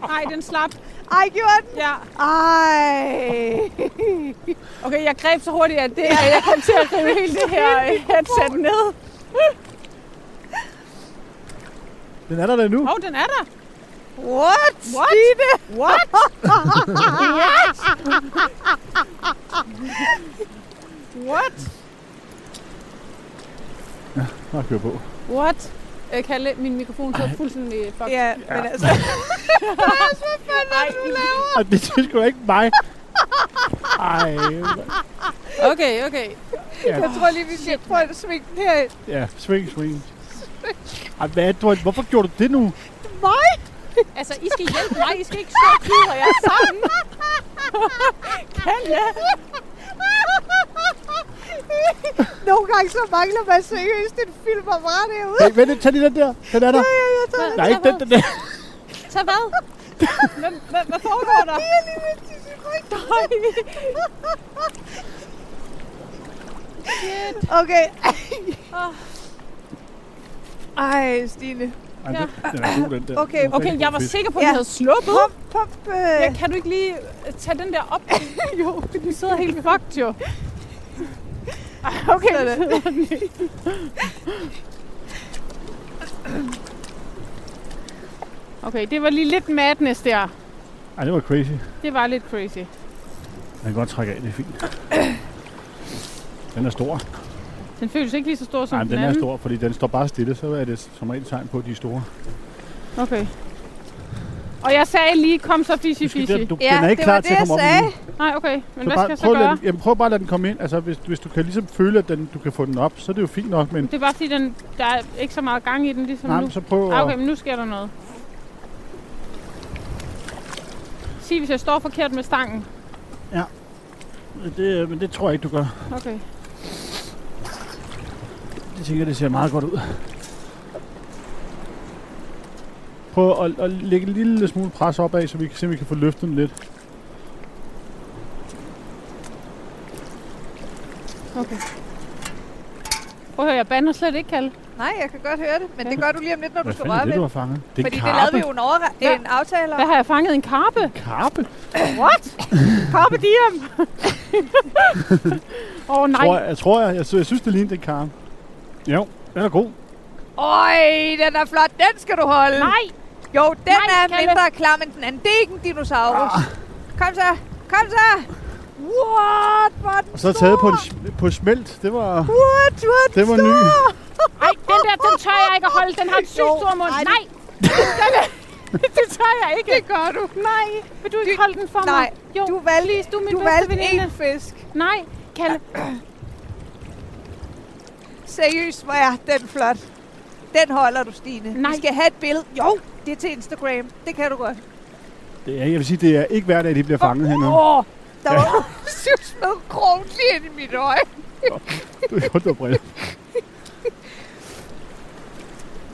[SPEAKER 5] Nej, den slap.
[SPEAKER 4] Ej, gjorde den.
[SPEAKER 5] Ja.
[SPEAKER 4] Ej.
[SPEAKER 5] Okay, jeg greb så hurtigt, at det her, jeg kom til at rive hele det her øh, headset ned.
[SPEAKER 3] Den er der da nu.
[SPEAKER 5] Hov, oh, den er der.
[SPEAKER 4] What?
[SPEAKER 5] What?
[SPEAKER 4] Stine?
[SPEAKER 5] What? What? What?
[SPEAKER 3] Nå, kør på.
[SPEAKER 5] What? Øh, Kalle, min mikrofon så fuldstændig fucked.
[SPEAKER 4] Ja, men altså,
[SPEAKER 5] Ej, du laver?
[SPEAKER 3] Og det er sgu da ikke mig. Ej,
[SPEAKER 5] Okay, okay.
[SPEAKER 3] ja,
[SPEAKER 4] jeg tror lige, vi skal prøve at svinge den her.
[SPEAKER 3] ja, swing, swing. Ej, hvad er det, du har- hvorfor gjorde du det nu?
[SPEAKER 4] Mig?
[SPEAKER 5] Altså, I skal hjælpe mig. I skal ikke stå og kludre jer sammen. Kalle.
[SPEAKER 4] Nogle gange så mangler man seriøst en film om ret herude.
[SPEAKER 3] Hey, vent lidt, tag lige den der. Den er der.
[SPEAKER 4] Ja, jeg tager
[SPEAKER 5] Hvad?
[SPEAKER 3] Nej, ikke den, den der.
[SPEAKER 5] Tag hvad? Hvem- hvem- Hvad foregår der?
[SPEAKER 4] lige lige med til sin ryg.
[SPEAKER 5] Shit.
[SPEAKER 4] Okay.
[SPEAKER 5] Åh.
[SPEAKER 4] Ej, Stine.
[SPEAKER 3] Ej, den, den er god, den der.
[SPEAKER 4] Okay,
[SPEAKER 3] Den er
[SPEAKER 5] Okay,
[SPEAKER 3] rigtig
[SPEAKER 5] jeg var
[SPEAKER 3] fedt.
[SPEAKER 5] sikker på, at den
[SPEAKER 4] Ja.
[SPEAKER 5] havde sluppet.
[SPEAKER 4] Pump, pump. Øh.
[SPEAKER 5] Ja, kan du ikke lige øh, tage den der op? jo, den sidder helt fucked jo. Ej, Okay, nu
[SPEAKER 4] Sådan.
[SPEAKER 5] sidder den i. Okay, det var lige lidt madness der.
[SPEAKER 3] Ej, det var crazy.
[SPEAKER 5] Det var lidt crazy.
[SPEAKER 3] Man kan godt trække af, det er fint. Den er stor.
[SPEAKER 5] Den føles ikke lige så stor som
[SPEAKER 3] Nej, men den er
[SPEAKER 5] anden.
[SPEAKER 3] stor, fordi den står bare stille, så er det som regel tegn på, at de er store.
[SPEAKER 5] Okay. Og jeg sagde lige, kom så fishy
[SPEAKER 3] Du skal,
[SPEAKER 5] fishy.
[SPEAKER 3] den, du, den er ikke
[SPEAKER 4] det
[SPEAKER 3] klar
[SPEAKER 4] var
[SPEAKER 3] til
[SPEAKER 4] det,
[SPEAKER 3] at
[SPEAKER 4] jeg
[SPEAKER 3] komme op
[SPEAKER 4] sagde.
[SPEAKER 3] endnu.
[SPEAKER 5] Nej, okay. Men
[SPEAKER 3] Så
[SPEAKER 5] hvad
[SPEAKER 3] bare,
[SPEAKER 5] skal jeg så
[SPEAKER 3] prøv, at lade
[SPEAKER 5] gøre?
[SPEAKER 3] den, jamen, prøv bare at lade den komme ind. Altså, hvis, hvis du kan ligesom føle, at den, du kan få den op, så er det jo fint nok, men,
[SPEAKER 5] Det er bare fordi, den, der er ikke så meget gang i den ligesom
[SPEAKER 3] nej,
[SPEAKER 5] nu.
[SPEAKER 3] men så prøv
[SPEAKER 5] Ah,
[SPEAKER 3] at...
[SPEAKER 5] okay, men nu sker der noget. Sig, hvis jeg står forkert med stangen.
[SPEAKER 3] Det, øh, men det tror jeg ikke, du gør.
[SPEAKER 5] Okay.
[SPEAKER 3] Det tænker jeg, det ser meget godt ud. Prøv at, at lægge en lille smule pres opad, så vi kan se, om vi kan få løftet den lidt.
[SPEAKER 5] Prøv at høre, jeg bander slet ikke, Kalle.
[SPEAKER 4] Nej, jeg kan godt høre det, men det gør du lige om lidt, når du
[SPEAKER 3] Hvad
[SPEAKER 4] skal
[SPEAKER 3] fanden
[SPEAKER 4] røre
[SPEAKER 3] er
[SPEAKER 4] ved
[SPEAKER 3] det, du
[SPEAKER 4] det.
[SPEAKER 3] har fanget? Det er
[SPEAKER 4] Fordi det
[SPEAKER 3] en
[SPEAKER 4] lavede
[SPEAKER 3] karpe.
[SPEAKER 4] vi jo en, overra-
[SPEAKER 5] Hvad?
[SPEAKER 4] en aftale om.
[SPEAKER 5] Hvad har jeg fanget? En karpe?
[SPEAKER 3] Karpe?
[SPEAKER 5] What? Karpe diem! Åh, oh, nej.
[SPEAKER 3] Tror jeg, jeg, tror jeg, jeg, sy- jeg synes, det ligner den karpe. Jo, den er god.
[SPEAKER 4] Øj, den er flot. Den skal du holde.
[SPEAKER 5] Nej!
[SPEAKER 4] Jo, den
[SPEAKER 5] Nej,
[SPEAKER 4] er
[SPEAKER 5] Kalle.
[SPEAKER 4] mindre klam end den anden. Det er ikke en dinosaurus.
[SPEAKER 3] Ah.
[SPEAKER 4] Kom så. Kom så. What? Hvor er den
[SPEAKER 3] Og så taget på, en, sm- på smelt. Det var,
[SPEAKER 4] What? What?
[SPEAKER 3] det var ny.
[SPEAKER 5] Ej, den der, den tør jeg ikke at holde. Den har en syg
[SPEAKER 4] Jo,
[SPEAKER 5] stor mund.
[SPEAKER 4] ej, det-
[SPEAKER 5] Nej! Den er- det tør jeg ikke. Det gør du. Nej. Vil du ikke
[SPEAKER 4] Det-
[SPEAKER 5] holde den for mig?
[SPEAKER 4] Nej,
[SPEAKER 5] Jo,
[SPEAKER 4] du valgte-
[SPEAKER 5] please, du er min
[SPEAKER 4] Du
[SPEAKER 5] bedste
[SPEAKER 4] valgte
[SPEAKER 5] veninde.
[SPEAKER 4] en fisk.
[SPEAKER 5] Nej, Kalle.
[SPEAKER 4] Seriøst, hvor er den flot. Den holder du, Stine.
[SPEAKER 5] Nej.
[SPEAKER 4] Vi skal have et billede. Jo, det er til Instagram. Det kan du godt.
[SPEAKER 3] Det er, jeg vil sige, det er ikke hver dag, de bliver fanget hernede.
[SPEAKER 4] Åh, der var syv små krogt lige ind i mit øje.
[SPEAKER 3] Du kan godt være brille.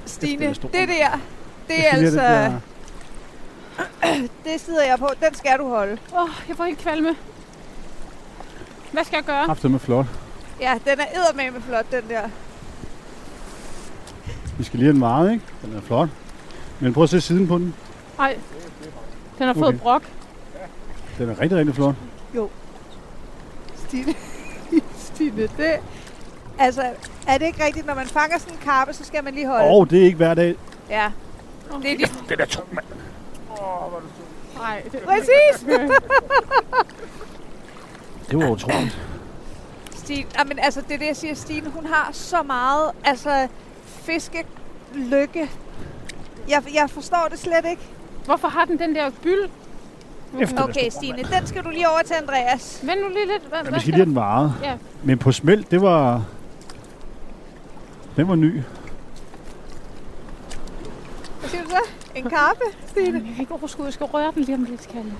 [SPEAKER 4] Stine,
[SPEAKER 3] er stor.
[SPEAKER 4] det der, det er
[SPEAKER 3] Jeg synes,
[SPEAKER 4] altså,
[SPEAKER 3] det bliver-
[SPEAKER 4] det sidder jeg på. Den skal du holde.
[SPEAKER 5] Åh, oh, jeg får helt kvalme. Hvad skal jeg gøre?
[SPEAKER 3] Kraftigt med flot.
[SPEAKER 4] Ja, den er eddermame flot, den der.
[SPEAKER 3] Vi skal lige have den meget, ikke? Den er flot. Men prøv at se siden på den.
[SPEAKER 5] Ej, den har fået
[SPEAKER 3] Okay.
[SPEAKER 5] brok.
[SPEAKER 3] Den er rigtig, rigtig flot.
[SPEAKER 4] Stine, Stine, det... Altså, er det ikke rigtigt, når man fanger sådan en karpe, så skal man lige holde?
[SPEAKER 3] Og oh, det er ikke hver dag.
[SPEAKER 4] Ja. Det er lige...
[SPEAKER 5] Nej, det,
[SPEAKER 4] Præcis!
[SPEAKER 3] Det var utroligt.
[SPEAKER 4] Stine, jamen, altså, det er det, jeg siger. Stine, hun har så meget, altså, fiskelykke. Jeg, jeg forstår det slet ikke.
[SPEAKER 5] Hvorfor har den den der byld? Mm,
[SPEAKER 3] Efter
[SPEAKER 4] Okay, Stine, den skal du lige over til Andreas.
[SPEAKER 5] Vend nu lige lidt. Hvad,
[SPEAKER 3] Men
[SPEAKER 5] hvad
[SPEAKER 3] vi skal lige
[SPEAKER 5] skal
[SPEAKER 3] have
[SPEAKER 5] der-
[SPEAKER 3] den meget.
[SPEAKER 5] Ja.
[SPEAKER 3] Men på smelt, det var... Den var ny.
[SPEAKER 4] Hvad siger du så? En karpe, Stine?
[SPEAKER 5] Jamen, Jeg kan ikke overskue, jeg skal røre den lige om lidt, Kalle.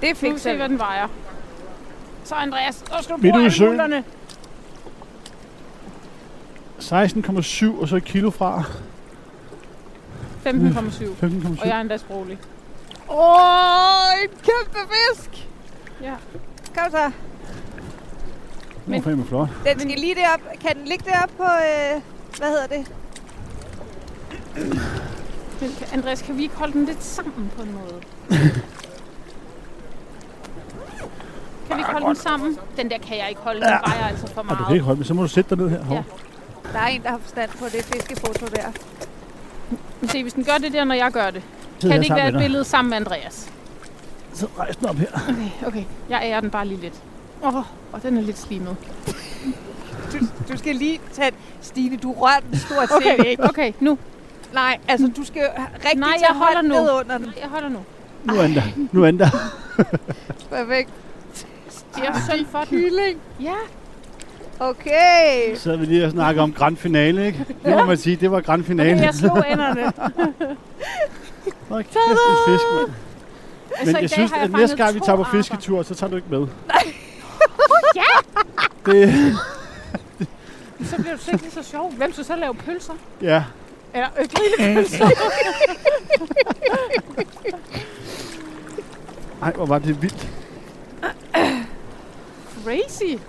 [SPEAKER 4] Det
[SPEAKER 5] Nu kan vi se, hvad den vejer. Så Andreas, nu skal du
[SPEAKER 3] Midt
[SPEAKER 5] bruge
[SPEAKER 3] ude i
[SPEAKER 5] alle
[SPEAKER 3] søen.
[SPEAKER 5] mulerne.
[SPEAKER 3] 16,7 og så et kilo fra.
[SPEAKER 5] 15,7.
[SPEAKER 3] 15,7.
[SPEAKER 5] Og jeg er endda sproglig.
[SPEAKER 4] Åh, en kæmpe fisk!
[SPEAKER 5] Ja.
[SPEAKER 4] Kom så.
[SPEAKER 3] Den var fandme flot.
[SPEAKER 4] Den skal lige derop. Kan den ligge derop på, øh, hvad hedder det?
[SPEAKER 5] Men kan- Andreas, kan vi ikke holde den lidt sammen på en måde? kan
[SPEAKER 3] Ah,
[SPEAKER 5] vi ikke holde den sammen? Den der kan jeg ikke holde. Den vejer altså for
[SPEAKER 3] Og du kan
[SPEAKER 5] meget.
[SPEAKER 3] ikke holde, men så må du sætte dig ned her. Hov.
[SPEAKER 5] Ja.
[SPEAKER 4] Der er en, der har forstand på det fiskefoto der.
[SPEAKER 5] Men Se, hvis den gør det der, når jeg gør det.
[SPEAKER 3] Sidder jeg
[SPEAKER 5] Kan det ikke
[SPEAKER 3] sammen
[SPEAKER 5] være et
[SPEAKER 3] med dig.
[SPEAKER 5] billede sammen med Andreas?
[SPEAKER 3] Så rejs den op her.
[SPEAKER 5] Okay, okay. Jeg ærer den bare lige lidt. Åh, oh, og den er lidt slimet.
[SPEAKER 4] Du skal lige tage... Stine, du rører den stort set
[SPEAKER 5] Okay,
[SPEAKER 4] ikke.
[SPEAKER 5] okay, nu.
[SPEAKER 4] Nej, altså du skal rigtig
[SPEAKER 5] Nej,
[SPEAKER 4] tage
[SPEAKER 5] jeg holder
[SPEAKER 4] hånden
[SPEAKER 5] nu.
[SPEAKER 4] ned under den.
[SPEAKER 5] Jeg holder nu.
[SPEAKER 3] Nu er den der. Nu er den der.
[SPEAKER 4] Perfekt.
[SPEAKER 5] Det er synd for den.
[SPEAKER 4] Kylling.
[SPEAKER 5] Ja,
[SPEAKER 4] Okay.
[SPEAKER 3] Så vi lige og snakke om grand finale, ikke? Det må man sige, det var grand finale.
[SPEAKER 5] okay, jeg slog enderne.
[SPEAKER 3] Hold kæft, en fisk, mand.
[SPEAKER 5] Altså,
[SPEAKER 3] Men
[SPEAKER 5] i
[SPEAKER 3] jeg
[SPEAKER 5] dag
[SPEAKER 3] synes,
[SPEAKER 5] har jeg
[SPEAKER 3] at næste
[SPEAKER 5] fanget
[SPEAKER 3] gang vi
[SPEAKER 5] to
[SPEAKER 3] tager på
[SPEAKER 5] arter.
[SPEAKER 3] fisketur, så tager du ikke med.
[SPEAKER 5] Ja,
[SPEAKER 3] Det,
[SPEAKER 5] så bliver det ikke lige så sjovt. Hvem skulle så lave pølser?
[SPEAKER 3] ja.
[SPEAKER 5] Eller øh, grille
[SPEAKER 3] Ej, hvor var det vildt.
[SPEAKER 5] crazy.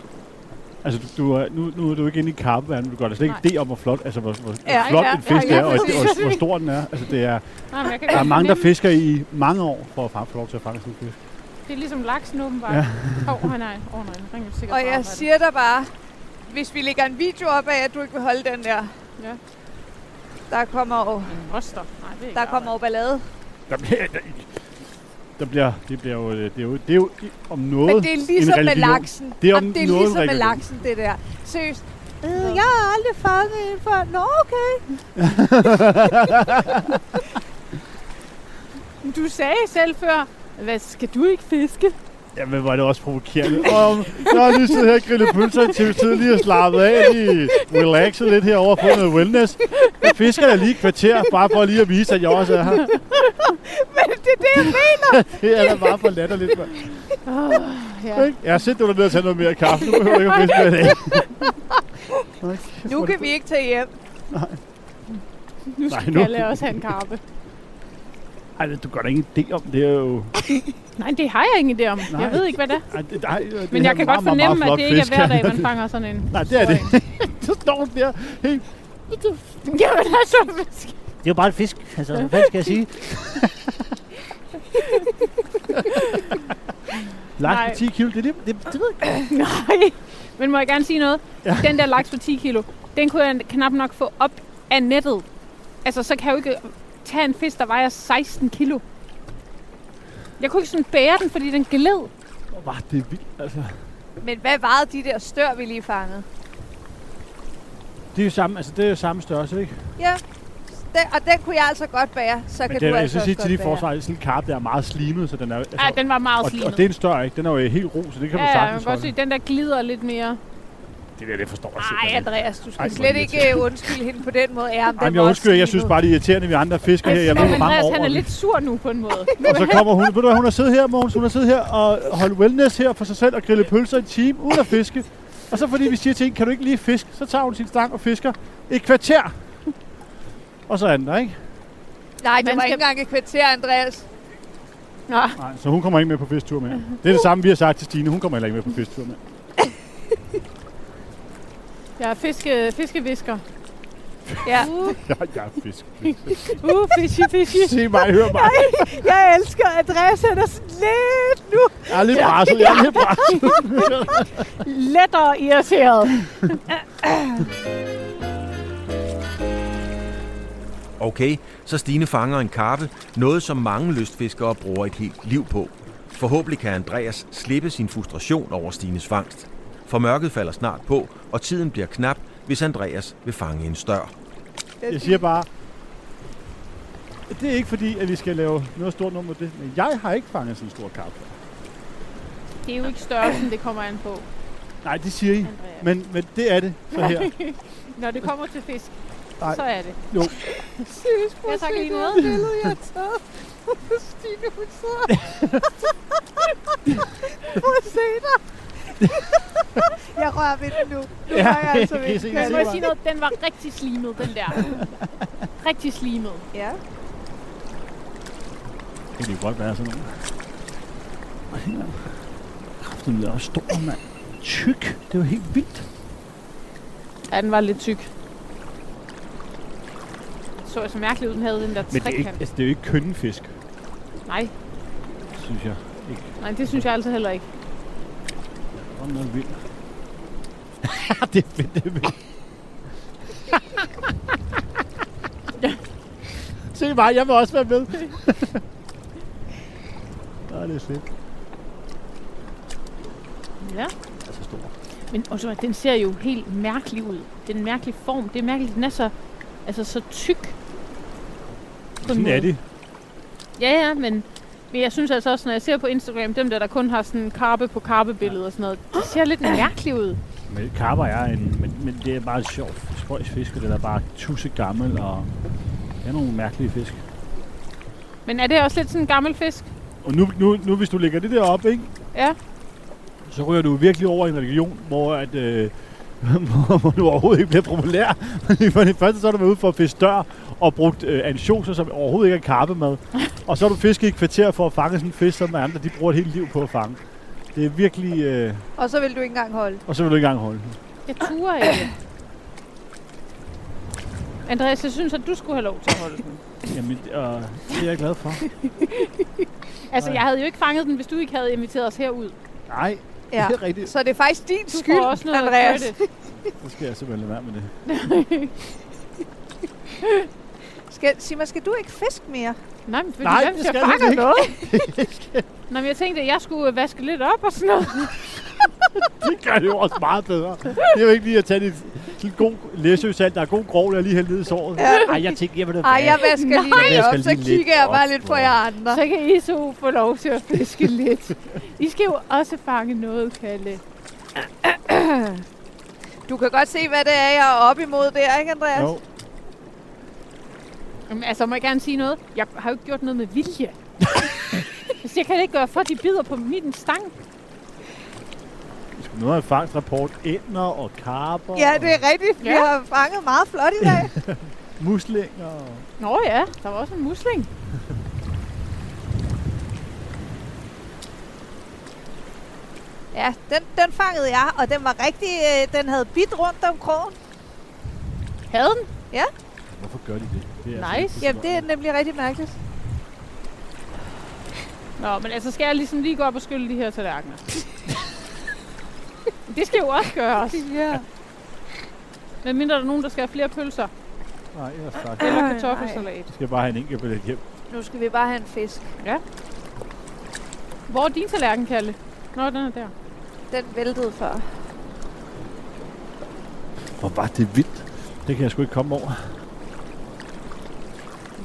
[SPEAKER 3] Altså, du, du er, nu, nu er du ikke inde i karpeverdenen, du gør dig slet ikke
[SPEAKER 5] Nej.
[SPEAKER 3] idé om, hvor flot, altså, hvor, hvor
[SPEAKER 4] Ja,
[SPEAKER 3] ja, flot
[SPEAKER 4] ja,
[SPEAKER 3] en fisk
[SPEAKER 5] ja,
[SPEAKER 3] er, og,
[SPEAKER 5] præcis.
[SPEAKER 3] og, hvor stor den er. Altså, det er,
[SPEAKER 5] Nej, men jeg kan
[SPEAKER 3] der er
[SPEAKER 5] godt
[SPEAKER 3] mange, der
[SPEAKER 5] fornemme,
[SPEAKER 3] fisker i mange år, for at fa- få lov til at fange sådan en fisk.
[SPEAKER 5] Det er ligesom laksen åbenbart.
[SPEAKER 3] Ja.
[SPEAKER 5] Ja. Åh, oh, nej, åh oh, nej, nu ringer vi sikkert
[SPEAKER 4] Og
[SPEAKER 5] på
[SPEAKER 4] jeg
[SPEAKER 5] arbejde.
[SPEAKER 4] siger dig bare, hvis vi lægger en video op af, at du ikke vil holde den der,
[SPEAKER 5] Ja.
[SPEAKER 4] der kommer jo,
[SPEAKER 5] En Moster. Nej, det er ikke
[SPEAKER 4] der kommer jo ballade.
[SPEAKER 3] Der bliver, der, der bliver, det bliver jo, øh, det er jo, det er jo i- om noget
[SPEAKER 4] Men det er ligesom
[SPEAKER 3] en
[SPEAKER 4] med
[SPEAKER 3] religion.
[SPEAKER 4] laksen.
[SPEAKER 3] Det er om
[SPEAKER 4] Jamen, det er
[SPEAKER 3] noget en
[SPEAKER 4] ligesom med
[SPEAKER 3] religion.
[SPEAKER 4] laksen, det der. Seriøst. Øh, jeg har aldrig fanget en før. Nå, okay.
[SPEAKER 5] arbejde. Du sagde selv før, hvad skal du ikke fiske?
[SPEAKER 3] Jamen, var det også provokerende. Om, jeg har lige siddet her og grillet pølser til tid lige og slappet af, lige relaxet lidt herovre og fået noget wellness. Jeg fisker da lige et kvarter, bare for lige at vise, at jeg også er her.
[SPEAKER 4] Men det er det, jeg mener.
[SPEAKER 3] det er da bare for latterligt. mand.
[SPEAKER 5] Oh, ja.
[SPEAKER 3] Ikke? Jeg har set, du er nødt til at tage noget mere kaffe. Nu behøver du ikke at miste med det. Hold kæft,
[SPEAKER 4] Nu
[SPEAKER 3] hvor er
[SPEAKER 4] kan vi ikke tage hjem.
[SPEAKER 5] Nu
[SPEAKER 3] Nej,
[SPEAKER 5] skal
[SPEAKER 3] nu-
[SPEAKER 5] Nej, nu. jeg også have en karpe.
[SPEAKER 3] det- Ej, du gør da ingen idé om det. Er jo...
[SPEAKER 5] Nej, det har jeg ingen idé om. Nej.
[SPEAKER 3] Nej.
[SPEAKER 5] Jeg ved ikke, hvad det er.
[SPEAKER 3] Ej, det, ej, det er
[SPEAKER 5] Men jeg
[SPEAKER 3] meget,
[SPEAKER 5] kan
[SPEAKER 3] meget, meget
[SPEAKER 5] godt fornemme, at
[SPEAKER 3] flot
[SPEAKER 5] det ikke er
[SPEAKER 3] fisk.
[SPEAKER 5] hver dag, man fanger sådan en.
[SPEAKER 3] Nej, det er det. så står den der. Hey.
[SPEAKER 5] Jamen altså, fisk.
[SPEAKER 6] Det er jo bare en fisk. Altså, hvad skal jeg sige?
[SPEAKER 3] Laks
[SPEAKER 5] Nej.
[SPEAKER 3] med 10 kilo. Det, er det, det, det ved jeg ikke.
[SPEAKER 5] Nej. Men må jeg gerne sige noget?
[SPEAKER 3] Ja.
[SPEAKER 5] Ja. Den der laks for 10 kilo, den kunne jeg knap nok få op af nettet. Altså, så kan jeg jo ikke tage en fisk, der vejer 16 kilo. Jeg kunne ikke sådan bære den, fordi den gled.
[SPEAKER 3] Åh, Var det er vildt, altså.
[SPEAKER 4] Men hvad varede de der stør, vi lige fangede?
[SPEAKER 3] Det er jo samme, altså, det er jo samme størrelse, ikke?
[SPEAKER 4] Ja. Den, og den kunne jeg altså godt bære, så
[SPEAKER 3] Men
[SPEAKER 4] kan
[SPEAKER 3] det, er-
[SPEAKER 4] du
[SPEAKER 3] jeg
[SPEAKER 4] altså
[SPEAKER 3] skal
[SPEAKER 4] også
[SPEAKER 3] sige
[SPEAKER 4] godt
[SPEAKER 3] til de
[SPEAKER 4] bære.
[SPEAKER 3] forsvar, at sådan en karp, der er meget slimet, så den er... Altså,
[SPEAKER 5] Ja, den var meget
[SPEAKER 3] og,
[SPEAKER 5] slimet.
[SPEAKER 3] og, det er en større, ikke? Den er jo helt ro, så det kan
[SPEAKER 5] ja,
[SPEAKER 3] du
[SPEAKER 5] ja, jeg
[SPEAKER 3] sagtens
[SPEAKER 5] kan godt se,
[SPEAKER 3] holde.
[SPEAKER 5] den der glider lidt mere.
[SPEAKER 3] Det der, det forstår jeg
[SPEAKER 5] Nej,
[SPEAKER 3] simpelthen ikke.
[SPEAKER 5] Andreas, du skal
[SPEAKER 3] Ej,
[SPEAKER 5] ikke
[SPEAKER 3] hvor er
[SPEAKER 4] Slet
[SPEAKER 3] det
[SPEAKER 4] ikke uh, undskyld hende på den måde. Ja, men den
[SPEAKER 3] Jamen,
[SPEAKER 4] var
[SPEAKER 3] jeg
[SPEAKER 4] også
[SPEAKER 3] undskylder, jeg synes
[SPEAKER 4] slimet.
[SPEAKER 3] bare, det er irriterende, at vi andre fisker her. Jeg ved, hvor mange
[SPEAKER 5] Altså, Andreas,
[SPEAKER 3] år.
[SPEAKER 5] han er
[SPEAKER 3] vi-
[SPEAKER 5] lidt sur nu på en måde.
[SPEAKER 3] Og så kommer hun, ved du hvad, hun har siddet her, Mogens, hun har siddet her og holdt wellness her for sig selv og grillet pølser i en time uden at fiske. Og så fordi vi siger til hende, kan du ikke lige fiske, så tager hun sin stang og fisker et kvarter. Og så er den der, ikke?
[SPEAKER 4] Nej, det
[SPEAKER 5] Man
[SPEAKER 4] var
[SPEAKER 5] skal-
[SPEAKER 4] ikke engang et kvarter, Andreas.
[SPEAKER 5] Nå,
[SPEAKER 3] Nej, så hun kommer ikke med på fisktur med. Det er det samme, vi har sagt til Stine, hun kommer heller ikke med på fisktur med.
[SPEAKER 5] jeg er fiske, fiskevisker.
[SPEAKER 4] Ja.
[SPEAKER 3] Ja, jeg er fisk.
[SPEAKER 5] Uh, fishy, fishy.
[SPEAKER 3] Se mig, hør mig.
[SPEAKER 2] Jeg elsker, at Andreas han er sådan lidt nu.
[SPEAKER 3] Jeg er lidt presset, jeg er lidt presset.
[SPEAKER 5] Lettere irriteret.
[SPEAKER 1] Okay, så Stine fanger en karpe, noget som mange lystfiskere bruger et helt liv på. Forhåbentlig kan Andreas slippe sin frustration over Stines fangst. For mørket falder snart på, og tiden bliver knap, hvis Andreas vil fange en stør.
[SPEAKER 3] Jeg siger bare, det er ikke fordi, at vi skal lave noget stort nummer af det, men jeg har ikke fanget sådan en stor karp.
[SPEAKER 5] Det er jo ikke størrelsen, det kommer an på,
[SPEAKER 3] Nej, det siger I.
[SPEAKER 5] Andreas.
[SPEAKER 3] Men, men det er det, så her.
[SPEAKER 5] Når det kommer til fisk,
[SPEAKER 3] Nej.
[SPEAKER 5] så er det.
[SPEAKER 3] Jo.
[SPEAKER 5] Jeg tager lige noget.
[SPEAKER 2] billede, jeg har taget. Stine, hun sidder. Prøv at se dig. jeg rører ved den nu. Nu
[SPEAKER 3] Ja,
[SPEAKER 2] ja, jeg altså
[SPEAKER 3] kan
[SPEAKER 2] ved
[SPEAKER 3] I se
[SPEAKER 2] den.
[SPEAKER 3] det?
[SPEAKER 5] Men jeg må jeg sige noget, den var rigtig slimet, den der. Rigtig slimet.
[SPEAKER 4] Ja.
[SPEAKER 3] Det kan jo godt være sådan noget. Og her. Kræft, den er også stor, mand. Tyk. Det er jo helt vildt.
[SPEAKER 5] Ja, den var lidt tyk. Så så mærkeligt ud, den havde den der
[SPEAKER 3] Men det er, ikke,
[SPEAKER 5] trekant.
[SPEAKER 3] altså, det er jo ikke kønne fisk,
[SPEAKER 5] Nej,
[SPEAKER 3] synes jeg. Ikke.
[SPEAKER 5] nej, det synes jeg altså heller ikke.
[SPEAKER 3] Om noget vildt. det er fedt, det er fedt. Se mig, jeg vil også være med. Nå, det er fedt.
[SPEAKER 5] Ja.
[SPEAKER 3] Altså stor.
[SPEAKER 5] Men også, den ser jo helt mærkelig ud. Det er en mærkelig form. Det er mærkeligt, den er så, altså, så tyk. På en
[SPEAKER 3] Sådan
[SPEAKER 5] måde.
[SPEAKER 3] er det.
[SPEAKER 5] Ja, ja, men, men jeg synes altså også, når jeg ser på Instagram, dem der, der kun har sådan karpe på karpe billeder og sådan noget, det ser lidt mærkeligt ud.
[SPEAKER 3] Men karper er en, men, men det er bare en sjov spøjs fisk, og den er bare tusse gammel, og det er nogle mærkelige fisk.
[SPEAKER 5] Men er det også lidt sådan en gammel fisk?
[SPEAKER 3] Og nu, nu, nu hvis du lægger det der op, ikke,
[SPEAKER 5] Ja.
[SPEAKER 3] så ryger du virkelig over i en religion, hvor, at, øh, hvor, hvor du overhovedet ikke bliver populær. For det første så har du været ude for at fiske dør og brugt øh, ansjoser, som overhovedet ikke er karpemad. og så har du fisket i et kvarter for at fange sådan en fisk, som andre de bruger et helt liv på at fange. Det er virkelig... Øh,
[SPEAKER 4] Og så vil du ikke engang holde.
[SPEAKER 3] og så vil du ikke engang holde.
[SPEAKER 5] Jeg turer ikke. Andreas, jeg synes, at du skulle have lov til at holde den.
[SPEAKER 3] Jamen, øh, det er jeg glad for.
[SPEAKER 5] Altså,
[SPEAKER 3] Nej.
[SPEAKER 5] jeg havde jo ikke fanget den, hvis du ikke havde inviteret os herud.
[SPEAKER 3] Nej,
[SPEAKER 4] Ja.
[SPEAKER 3] det er rigtigt.
[SPEAKER 4] Så det er faktisk din
[SPEAKER 5] Du
[SPEAKER 4] skyld,
[SPEAKER 5] får også noget
[SPEAKER 4] Andreas.
[SPEAKER 5] credit.
[SPEAKER 3] Så skal jeg simpelthen lade være med det.
[SPEAKER 4] Skal, sig mig, skal du ikke fiske mere?
[SPEAKER 5] Nej, men fordi,
[SPEAKER 3] Nej,
[SPEAKER 5] Nej, hvem
[SPEAKER 3] det
[SPEAKER 5] skal
[SPEAKER 3] skal
[SPEAKER 5] fange
[SPEAKER 3] jeg ikke.
[SPEAKER 5] noget? Nå, men jeg tænkte, at jeg skulle øh, vaske lidt op og sådan noget.
[SPEAKER 3] Det gør det jo også meget bedre. Det er jo ikke lige at tage dit sådan god læsøsalt, der er god grov, der lige hælder ned i såret.
[SPEAKER 6] Ej, jeg tænkte, jeg ville
[SPEAKER 4] Ej, jeg vasker lige lidt
[SPEAKER 6] Jeg
[SPEAKER 4] op,
[SPEAKER 6] skal
[SPEAKER 4] så
[SPEAKER 6] lige lidt
[SPEAKER 4] kigger jeg bare
[SPEAKER 6] op,
[SPEAKER 4] lidt på
[SPEAKER 6] bror.
[SPEAKER 4] jer andre.
[SPEAKER 5] Så kan I så få lov til at fiske lidt. I skal jo også fange noget, Kalle.
[SPEAKER 4] Du kan godt se, hvad det er, jeg er op imod der, ikke Andreas?
[SPEAKER 3] Jo.
[SPEAKER 5] Jamen, altså, må jeg gerne sige noget? Jeg har jo ikke gjort noget med vilje. jeg kan ikke gøre for, at de bider på min stang.
[SPEAKER 3] Vi skulle nå en fangstrapport. Ænder og karper
[SPEAKER 4] Ja, det er rigtigt. Vi
[SPEAKER 5] Ja.
[SPEAKER 4] har fanget meget flot i dag.
[SPEAKER 3] og muslinger. og-
[SPEAKER 5] Nå ja, der var også en musling.
[SPEAKER 4] Ja, den, den fangede jeg, og den var rigtig... Øh, den havde bidt rundt om krogen.
[SPEAKER 5] Havde den?
[SPEAKER 3] Hvorfor gør de det? altså- det
[SPEAKER 5] Nice.
[SPEAKER 4] Jamen, det er nemlig rigtig mærkeligt.
[SPEAKER 5] Nå, men altså skal jeg ligesom lige gå op og skylle de her tallerkener. det skal jo også gøres.
[SPEAKER 4] Ja.
[SPEAKER 5] Men mindre der er nogen, der skal have flere pølser
[SPEAKER 3] Nej, jeg er stak.
[SPEAKER 5] eller
[SPEAKER 4] Ej,
[SPEAKER 5] kartoffelsalat.
[SPEAKER 3] Jeg skal bare have en enkelt billet hjem.
[SPEAKER 4] Nu skal vi bare have en fisk.
[SPEAKER 5] Hvor er din tallerken, Kalle? Nå, den er der.
[SPEAKER 4] Den væltede før.
[SPEAKER 3] Hvor var det vildt. Det kan jeg sgu ikke komme over.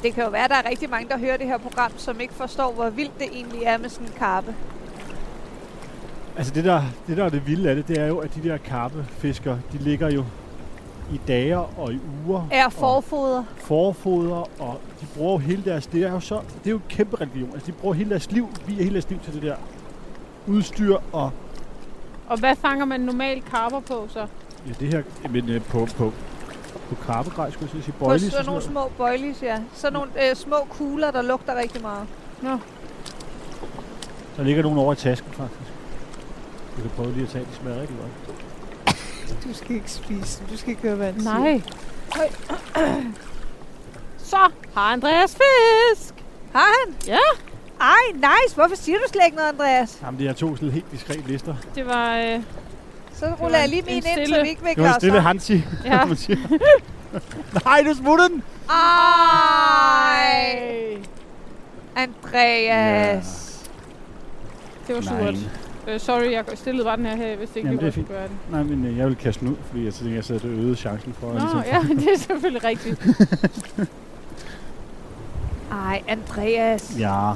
[SPEAKER 4] Det kan jo være, at der er rigtig mange, der hører det her program, som ikke forstår, hvor vildt det egentlig er med sådan en karpe.
[SPEAKER 3] Altså det der, det der er det vilde af det, det er jo, at de der karpefisker, de ligger jo i dage og i uger.
[SPEAKER 4] Er
[SPEAKER 3] og
[SPEAKER 4] forfoder.
[SPEAKER 3] forfoder, og de bruger jo hele deres, det er jo så, det er jo en kæmpe religion. Altså de bruger hele deres liv, vi er hele deres liv til det der udstyr og
[SPEAKER 5] Og hvad fanger man normalt karper på så?
[SPEAKER 3] ja, det her, men øh, på, på, på karpegrej, skulle jeg til at sige,
[SPEAKER 4] På
[SPEAKER 3] boilies og
[SPEAKER 4] sådan
[SPEAKER 3] sådan
[SPEAKER 4] nogle
[SPEAKER 3] noget.
[SPEAKER 4] små bøjlis, ja. Sådan nogle øh, små kugler, der lugter rigtig meget.
[SPEAKER 3] Der ligger nogen over i tasken, faktisk. Du kan prøve lige at tage, de smager rigtig godt.
[SPEAKER 2] Du skal ikke spise dem. Du skal ikke høre, hvad han siger.
[SPEAKER 5] Nej. Så har Andreas fisk.
[SPEAKER 4] Har han?
[SPEAKER 5] Ja.
[SPEAKER 4] Ej, nice. Hvorfor siger du slet ikke noget, Andreas?
[SPEAKER 3] Jamen, det er to sådan helt diskret lister.
[SPEAKER 5] Det var... Øh,
[SPEAKER 4] Så
[SPEAKER 5] var
[SPEAKER 4] ruller jeg
[SPEAKER 5] en-
[SPEAKER 4] lige min
[SPEAKER 5] en
[SPEAKER 4] ind, så
[SPEAKER 5] stille-
[SPEAKER 4] vi ikke
[SPEAKER 3] Det
[SPEAKER 4] vækker
[SPEAKER 3] var
[SPEAKER 4] os
[SPEAKER 3] en stille
[SPEAKER 4] op.
[SPEAKER 3] Hansi,
[SPEAKER 5] ja.
[SPEAKER 3] som man siger. Nej, du smuttede den!
[SPEAKER 4] Ej, Andreas.
[SPEAKER 5] Det var
[SPEAKER 3] Nej.
[SPEAKER 5] surt. Øh, sorry, jeg stillede bare den her her, hvis det ikke
[SPEAKER 3] Jamen,
[SPEAKER 5] Jamen,
[SPEAKER 3] det er
[SPEAKER 5] det
[SPEAKER 3] fint.
[SPEAKER 5] kunne gøre den.
[SPEAKER 3] Nej, men øh, jeg vil kaste den ud, fordi jeg tænker, jeg så det øgede chancen for. at
[SPEAKER 5] Nå,
[SPEAKER 3] ligesom-
[SPEAKER 5] ja, det er selvfølgelig rigtigt.
[SPEAKER 4] Ej, Andreas.
[SPEAKER 3] ja.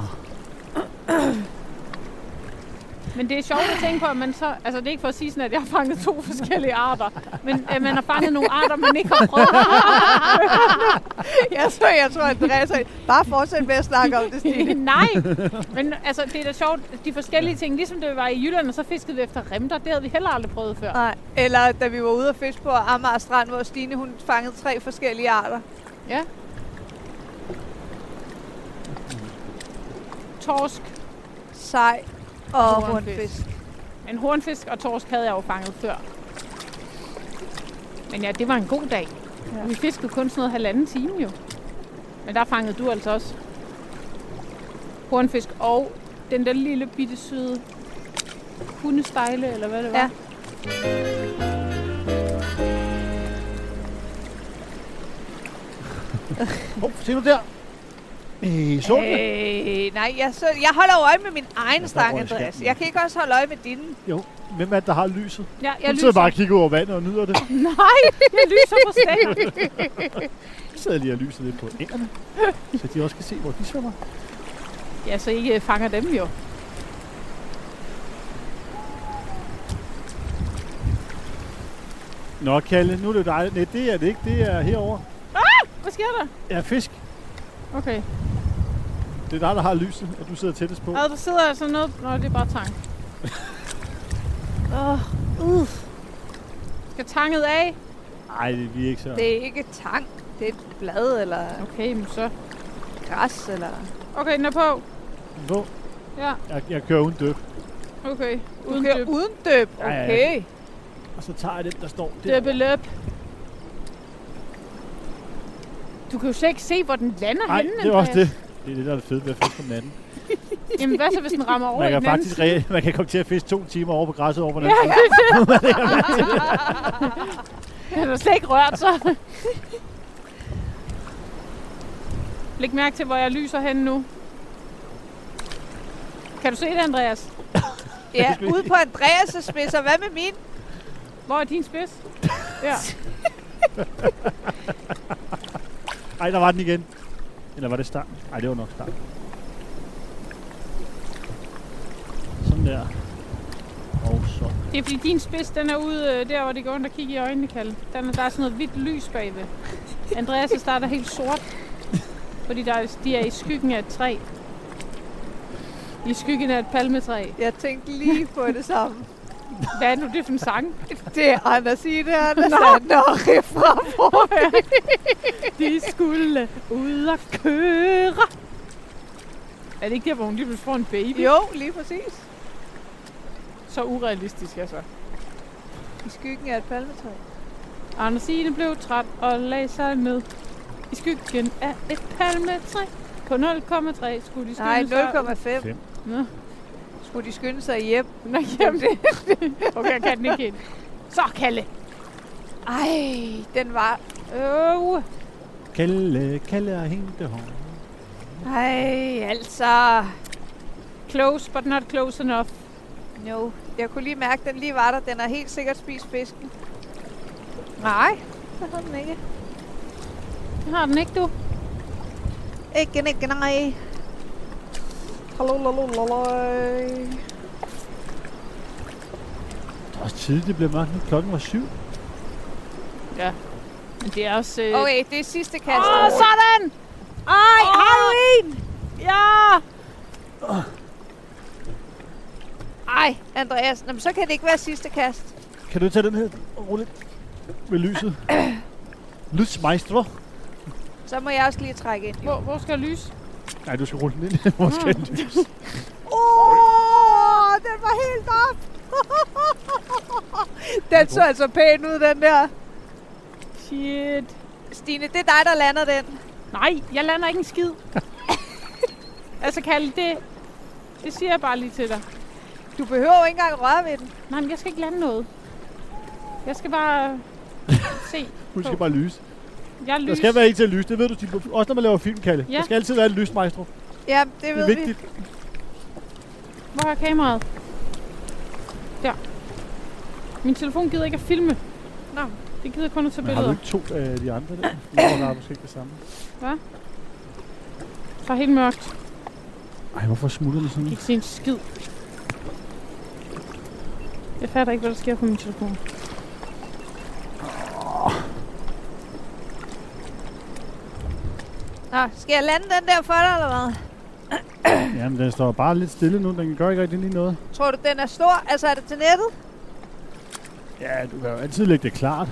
[SPEAKER 5] Men det er sjovt at tænke på, at man så... Altså, det er ikke for at sige sådan, at jeg har fanget to forskellige arter. Men øh, man har fanget nogle arter, man ikke har prøvet.
[SPEAKER 4] Jeg tror, jeg tror, Andreas er... Bare fortsæt med at snakke om det, Stine.
[SPEAKER 5] Nej, men altså, det er da sjovt. De forskellige ting, ligesom det var i Jylland, og så fiskede vi efter remter. Det havde vi heller aldrig prøvet før.
[SPEAKER 4] Nej. Eller da vi var ude at fiske på Amager Strand, hvor Stine hun fangede tre forskellige arter.
[SPEAKER 5] Torsk.
[SPEAKER 4] Sej og
[SPEAKER 5] Hornfisk.
[SPEAKER 4] hornfisk.
[SPEAKER 5] En hornfisk og torsk havde jeg jo fanget før. Men ja, det var en god dag.
[SPEAKER 4] Ja.
[SPEAKER 5] Ja. Vi fiskede kun sådan noget halvanden time jo. Men der fangede du altså også hornfisk og den der lille bitte søde hundestejle, eller hvad det var.
[SPEAKER 4] Ja.
[SPEAKER 3] Oh, se nu der! Øh, så hey.
[SPEAKER 4] Øh, nej, jeg, så, jeg holder jo øje med min egen
[SPEAKER 3] der
[SPEAKER 4] stang,
[SPEAKER 3] røg skærmen.
[SPEAKER 4] Andreas. Jeg kan ikke også holde øje med dine.
[SPEAKER 3] Jo, hvem er det, der har lyset?
[SPEAKER 5] Ja, jeg
[SPEAKER 3] Jeg sidder
[SPEAKER 5] lyser.
[SPEAKER 3] bare og kigger over vandet og nyder det.
[SPEAKER 5] Nej, jeg lyser på stænger.
[SPEAKER 3] Jeg sidder lige og lyser lidt på ænderne, så de også kan se, hvor de svømmer.
[SPEAKER 5] Ja, så ikke fanger dem jo.
[SPEAKER 3] Nå, Kalle, nu er det jo dig. Nej, det er det ikke. Det er herovre.
[SPEAKER 5] Hvad sker der?
[SPEAKER 3] Ja, fisk.
[SPEAKER 5] Okay.
[SPEAKER 3] Det er dig, der har lyset, og du sidder tættest på.
[SPEAKER 5] Og der sidder altså noget... Nå, det er bare tang.
[SPEAKER 4] Oh, uh.
[SPEAKER 5] Skal tanget af?
[SPEAKER 3] Nej, det er vi ikke så.
[SPEAKER 4] Det er ikke tang. Det er et blad eller
[SPEAKER 5] Okay, men så...
[SPEAKER 4] græs. Eller...
[SPEAKER 5] Okay, den er på.
[SPEAKER 3] Hvor?
[SPEAKER 5] Ja,
[SPEAKER 3] Jeg, jeg kører uden døb.
[SPEAKER 5] okay.
[SPEAKER 4] Du
[SPEAKER 5] Uden
[SPEAKER 4] kører
[SPEAKER 5] dyb.
[SPEAKER 4] uden døb.
[SPEAKER 3] Ja, ja, ja.
[SPEAKER 4] Okay.
[SPEAKER 3] Og så tager jeg den, der står der.
[SPEAKER 5] Døbeløb. Du kan jo slet ikke se, hvor den lander
[SPEAKER 3] Nej,
[SPEAKER 5] henne.
[SPEAKER 3] det er også
[SPEAKER 5] Andreas.
[SPEAKER 3] det. Det er det, der er det fede ved at fiske om natten.
[SPEAKER 5] Jamen, hvad så, hvis den rammer over
[SPEAKER 3] Man
[SPEAKER 5] i
[SPEAKER 3] kan
[SPEAKER 5] den
[SPEAKER 3] faktisk
[SPEAKER 5] anden?
[SPEAKER 3] re- man kan komme til at fiske to timer over på græsset over på den
[SPEAKER 5] Ja,
[SPEAKER 3] anden side.
[SPEAKER 5] det er det. Den er slet ikke rørt, så. Læg mærke til, hvor jeg lyser henne nu. Kan du se det, Andreas?
[SPEAKER 4] Ja, ude på Andreas' spidser. Hvad med min?
[SPEAKER 5] Hvor er din spids? Ja.
[SPEAKER 3] Ej, der var den igen. Eller var det stang? Nej, det var nok stang. Sådan der. Og så.
[SPEAKER 5] Det er fordi, din spids, den er ude øh, der, hvor det går ondt at kigge i øjnene, Kalle. Den er, der er sådan noget hvidt lys bagved. Andreas' starter helt sort, fordi der, er- de er i skyggen af et træ. I skyggen af et palmetræ.
[SPEAKER 4] Jeg tænkte lige på det samme.
[SPEAKER 5] Hvad er nu det for en sang?
[SPEAKER 4] Det er Anders i det, Anders Sander og Rifra.
[SPEAKER 5] De skulle ud og køre. Er det ikke der, hvor hun lige pludselig får en baby?
[SPEAKER 4] Jo, lige præcis.
[SPEAKER 5] Så urealistisk altså.
[SPEAKER 4] I skyggen af et palmetræ.
[SPEAKER 5] Andersine blev træt og lagde sig ned. I skyggen af et palmetræ. På 0,3 skulle de skynde
[SPEAKER 4] Nej,
[SPEAKER 5] sig.
[SPEAKER 4] 0,5.
[SPEAKER 3] Fem.
[SPEAKER 5] Nå.
[SPEAKER 4] Skulle de skynde sig hjem?
[SPEAKER 5] Nå, jamen det. Okay, jeg kan den ikke helt. Så, Kalle.
[SPEAKER 4] Ej, den var...
[SPEAKER 5] uh,
[SPEAKER 4] Øh.
[SPEAKER 3] Kalle, Kalle og hente hår.
[SPEAKER 4] Ej, altså...
[SPEAKER 5] Close, but not close enough.
[SPEAKER 4] No. Jeg kunne lige mærke, at den lige var der. Den har helt sikkert spist fisken. Nej, det har den ikke.
[SPEAKER 5] Det har den ikke, du.
[SPEAKER 4] Ikke, ikke, nej. Hallo, lalo, lalo.
[SPEAKER 3] Det er også tidligt, det blev mørkt. nu. Klokken var syv.
[SPEAKER 5] Men det er også... Øh...
[SPEAKER 4] Okay, det er sidste kast.
[SPEAKER 5] Åh, sådan!
[SPEAKER 2] Ej,
[SPEAKER 5] Åh!
[SPEAKER 2] har du en?
[SPEAKER 5] Ja!
[SPEAKER 4] Ej, Andreas, Nå, men så kan det ikke være sidste kast.
[SPEAKER 3] Kan du tage den her og rulle med lyset? Lysmeister.
[SPEAKER 4] Så må jeg også lige trække ind.
[SPEAKER 5] Hvor, hvor skal jeg lyse?
[SPEAKER 3] Nej, du skal rulle den ind. Hvor skal den lyse?
[SPEAKER 4] Åh, den var helt op! den så altså pæn ud, den der.
[SPEAKER 5] Shit.
[SPEAKER 4] Stine, det er dig, der lander den.
[SPEAKER 5] Nej, jeg lander ikke en skid. altså, Kalle, det... Det siger jeg bare lige til dig.
[SPEAKER 4] Du behøver jo ikke engang røre ved den.
[SPEAKER 5] Nej, men jeg skal ikke lande noget. Jeg skal bare... se.
[SPEAKER 3] Du skal bare lyse.
[SPEAKER 5] Jeg er lys.
[SPEAKER 3] Der skal være en til at lyse. Det ved du, Stine. også når man laver film, Kalle.
[SPEAKER 5] Ja.
[SPEAKER 3] Der skal altid være en lysmeister.
[SPEAKER 4] Ja, det
[SPEAKER 3] Det
[SPEAKER 4] ved
[SPEAKER 3] er
[SPEAKER 4] vi.
[SPEAKER 3] vigtigt.
[SPEAKER 5] Hvor er kameraet? Der. Min telefon gider ikke at filme.
[SPEAKER 4] Nå.
[SPEAKER 5] Det gider kun at tage
[SPEAKER 3] Men har du
[SPEAKER 5] billeder.
[SPEAKER 3] ikke to af de andre der? Nå, der er måske ikke det samme.
[SPEAKER 5] Der er helt mørkt.
[SPEAKER 3] Ej, hvorfor smutter den
[SPEAKER 5] Jeg kan
[SPEAKER 3] sådan?
[SPEAKER 5] ikke se en skid. Jeg fatter ikke, hvad der sker på min telefon.
[SPEAKER 4] Nå, skal jeg lande den der for dig, eller hvad?
[SPEAKER 3] Jamen, den står bare lidt stille nu. Den gør ikke rigtig lige noget.
[SPEAKER 4] Tror du, den er stor? Altså, er det til nettet?
[SPEAKER 3] Ja, du kan jo altid lægge det klart.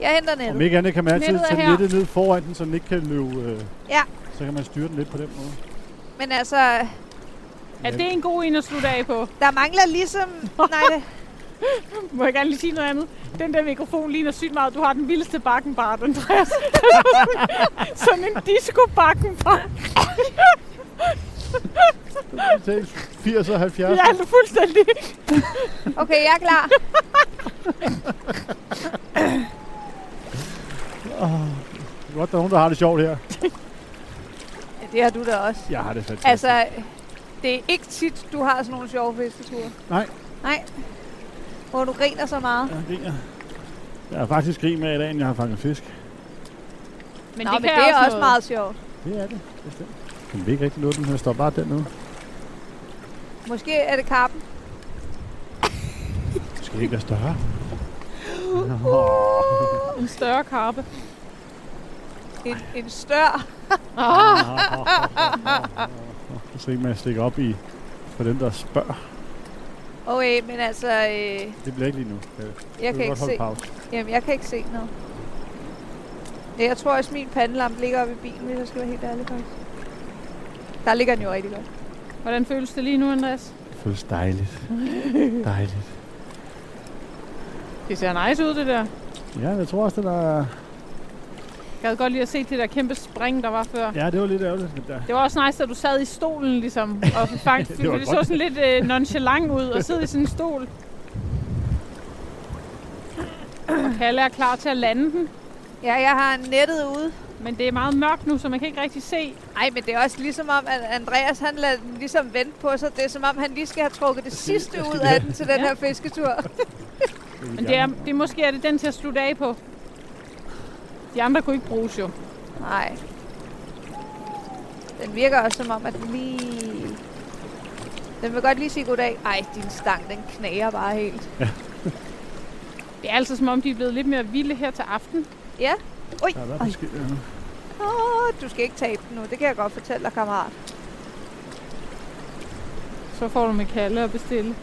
[SPEAKER 4] Jeg henter
[SPEAKER 3] Om
[SPEAKER 4] nettet.
[SPEAKER 3] ikke andet kan man altid
[SPEAKER 5] Nettet er
[SPEAKER 3] tage
[SPEAKER 5] her.
[SPEAKER 3] nettet ned foran den, så den ikke kan løbe. Øh,
[SPEAKER 4] Ja.
[SPEAKER 3] Så kan man styre den lidt på den måde.
[SPEAKER 4] Men altså,
[SPEAKER 5] Er det en god en at slutte af på?
[SPEAKER 4] der mangler ligesom... Nej, det...
[SPEAKER 5] Må jeg gerne lige sige noget andet? Den der mikrofon ligner sygt meget. Du har den vildeste bakkenbart, Andreas. Sådan en disco-bakkenbart.
[SPEAKER 3] Det er 80 og 70.
[SPEAKER 5] Jeg er altså fuldstændig...
[SPEAKER 4] Okay, jeg er klar.
[SPEAKER 3] Godt, der er nogen, der har det sjovt her.
[SPEAKER 4] Ja, det har du da også.
[SPEAKER 3] Jeg har det fantastisk.
[SPEAKER 4] Altså, det er ikke tit, du har sådan nogle sjove fisketure.
[SPEAKER 3] Nej.
[SPEAKER 4] Nej. Hvor du griner så meget.
[SPEAKER 3] Jeg griner. Jeg har faktisk grin med i dag, end jeg har fanget fisk.
[SPEAKER 5] Men
[SPEAKER 4] Nå,
[SPEAKER 5] det,
[SPEAKER 4] men
[SPEAKER 5] kan
[SPEAKER 4] det er
[SPEAKER 5] også,
[SPEAKER 4] også
[SPEAKER 5] noget.
[SPEAKER 4] meget sjovt.
[SPEAKER 3] Det er det. Bestemt. Den vil ikke rigtig noget, den her står bare dernede.
[SPEAKER 4] Måske er det kappen.
[SPEAKER 3] Du skal ikke være større.
[SPEAKER 5] En større karpe.
[SPEAKER 4] En, en stør.
[SPEAKER 5] Ah,
[SPEAKER 3] Og så ikke man stikke op i for dem, der spørger.
[SPEAKER 4] Okay, men altså, øh,
[SPEAKER 3] Det bliver ikke lige nu. Jeg
[SPEAKER 4] jeg kan ikke se.
[SPEAKER 3] Pause.
[SPEAKER 4] Jamen, jeg kan ikke se noget. Ja, Jeg tror også, min pandelampe ligger oppe i bilen, hvis jeg skal være helt ærlig faktisk. Der ligger den jo rigtig godt.
[SPEAKER 5] hvordan føles det lige nu, Andreas?
[SPEAKER 3] Det føles dejligt. dejligt.
[SPEAKER 5] Det ser nice ud, det der.
[SPEAKER 3] Ja, jeg tror også, det der...
[SPEAKER 5] Jeg havde godt lige at se det der kæmpe spring, der var før.
[SPEAKER 3] Ja, det var lidt ærgerligt. Men der...
[SPEAKER 5] Det var også nice, at du sad i stolen ligesom, og fang,
[SPEAKER 3] Det
[SPEAKER 5] det,
[SPEAKER 3] var
[SPEAKER 5] det så
[SPEAKER 3] godt.
[SPEAKER 5] sådan lidt øh, nonchalant ud og sidde i sådan en stol. Og Kalle er klar til at lande den,
[SPEAKER 4] Ja, jeg har nettet ude.
[SPEAKER 5] men det er meget mørkt nu, så man kan ikke rigtig se.
[SPEAKER 4] Ej, men det er også ligesom om, at Andreas han lader den ligesom vente på sig. Det er som om, han lige skal have trukket det sidste ud af den til den
[SPEAKER 5] Ja.
[SPEAKER 4] her fisketur.
[SPEAKER 5] Men det er, det er måske er det den til at slutte af på. De andre kunne ikke bruges jo.
[SPEAKER 4] Nej. Den virker også som om, at den lige... Den vil godt lige sige goddag. Ej, din stang, den knager bare helt.
[SPEAKER 5] Det er altså som om, de er blevet lidt mere vilde her til aften.
[SPEAKER 4] Ja.
[SPEAKER 3] Der er i hvert fald skidt dernede.
[SPEAKER 4] Åh, du skal ikke tabe den nu. Det kan jeg godt fortælle dig, kammerat.
[SPEAKER 5] Så får du med kalde og bestille.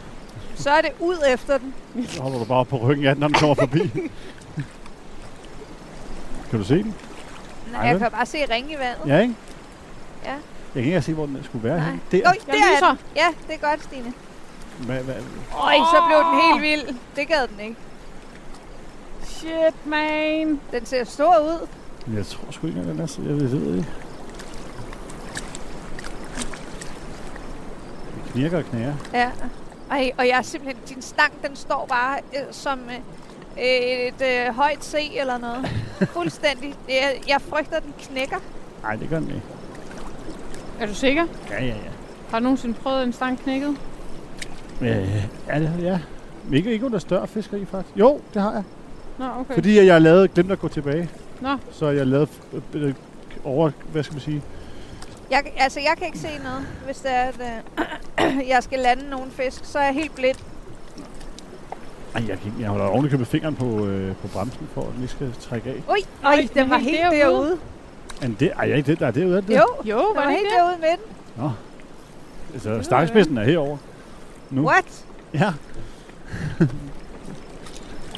[SPEAKER 4] Så er det ud efter den.
[SPEAKER 3] Så hopper du bare på ryggen af den, når den kommer forbi. kan du se den?
[SPEAKER 4] Nej,
[SPEAKER 3] Ej,
[SPEAKER 4] jeg
[SPEAKER 3] vel?
[SPEAKER 4] kan bare se ringe i vandet.
[SPEAKER 3] Ja, ikke?
[SPEAKER 4] Ja.
[SPEAKER 3] Jeg kan ikke engang se, hvor den skulle være
[SPEAKER 4] Nej.
[SPEAKER 3] henne. Der.
[SPEAKER 4] Nå,
[SPEAKER 5] Jeg
[SPEAKER 4] der er
[SPEAKER 5] lyser.
[SPEAKER 4] den. Ja, det er godt, Stine.
[SPEAKER 3] Hvad, hvad?
[SPEAKER 4] Øj, så blev den helt vild. Det gad den ikke.
[SPEAKER 5] Shit, man.
[SPEAKER 4] Den ser stor ud.
[SPEAKER 3] Jeg tror sgu ikke, at den er så... Jeg ved, jeg ved ikke. Det knirker og knager.
[SPEAKER 4] Ja. Ej, og jeg er simpelthen... Din stang, den står bare øh, som øh, et øh, højt C eller noget. Fuldstændig. Jeg, jeg frygter, den knækker.
[SPEAKER 3] Nej, det gør den ikke.
[SPEAKER 5] Er du sikker?
[SPEAKER 3] Ja, ja, ja.
[SPEAKER 5] Har du nogensinde prøvet en stang knækket?
[SPEAKER 3] Øh, ja, det ja. Men Ikke, ikke under større fiskeri, faktisk. Jo, det har jeg.
[SPEAKER 5] Nå, okay.
[SPEAKER 3] Fordi at jeg lavede, glemte at gå tilbage.
[SPEAKER 5] Nå.
[SPEAKER 3] Så jeg lavede øh, øh, over, hvad skal man sige,
[SPEAKER 4] Jeg, altså, jeg kan ikke se noget, hvis det er, at øh, jeg skal lande nogen fisk. Så er jeg helt blind.
[SPEAKER 3] Ej, jeg, kan, ikke- jeg holder ovenikøbet fingeren på, øh, på bremsen, for at den ikke skal trække af.
[SPEAKER 4] Ui, øj,
[SPEAKER 5] den
[SPEAKER 4] den
[SPEAKER 5] er
[SPEAKER 4] var
[SPEAKER 5] helt
[SPEAKER 4] helt
[SPEAKER 5] derude.
[SPEAKER 4] derude.
[SPEAKER 3] Men det, ej, jeg er ikke det, der er derude, er det det?
[SPEAKER 4] Jo,
[SPEAKER 5] Jo,
[SPEAKER 4] den
[SPEAKER 5] var
[SPEAKER 4] var
[SPEAKER 5] det
[SPEAKER 4] helt
[SPEAKER 5] ikke det?
[SPEAKER 4] derude med den.
[SPEAKER 3] Altså, stangspidsen er herover. Nu.
[SPEAKER 4] What?
[SPEAKER 3] Ja,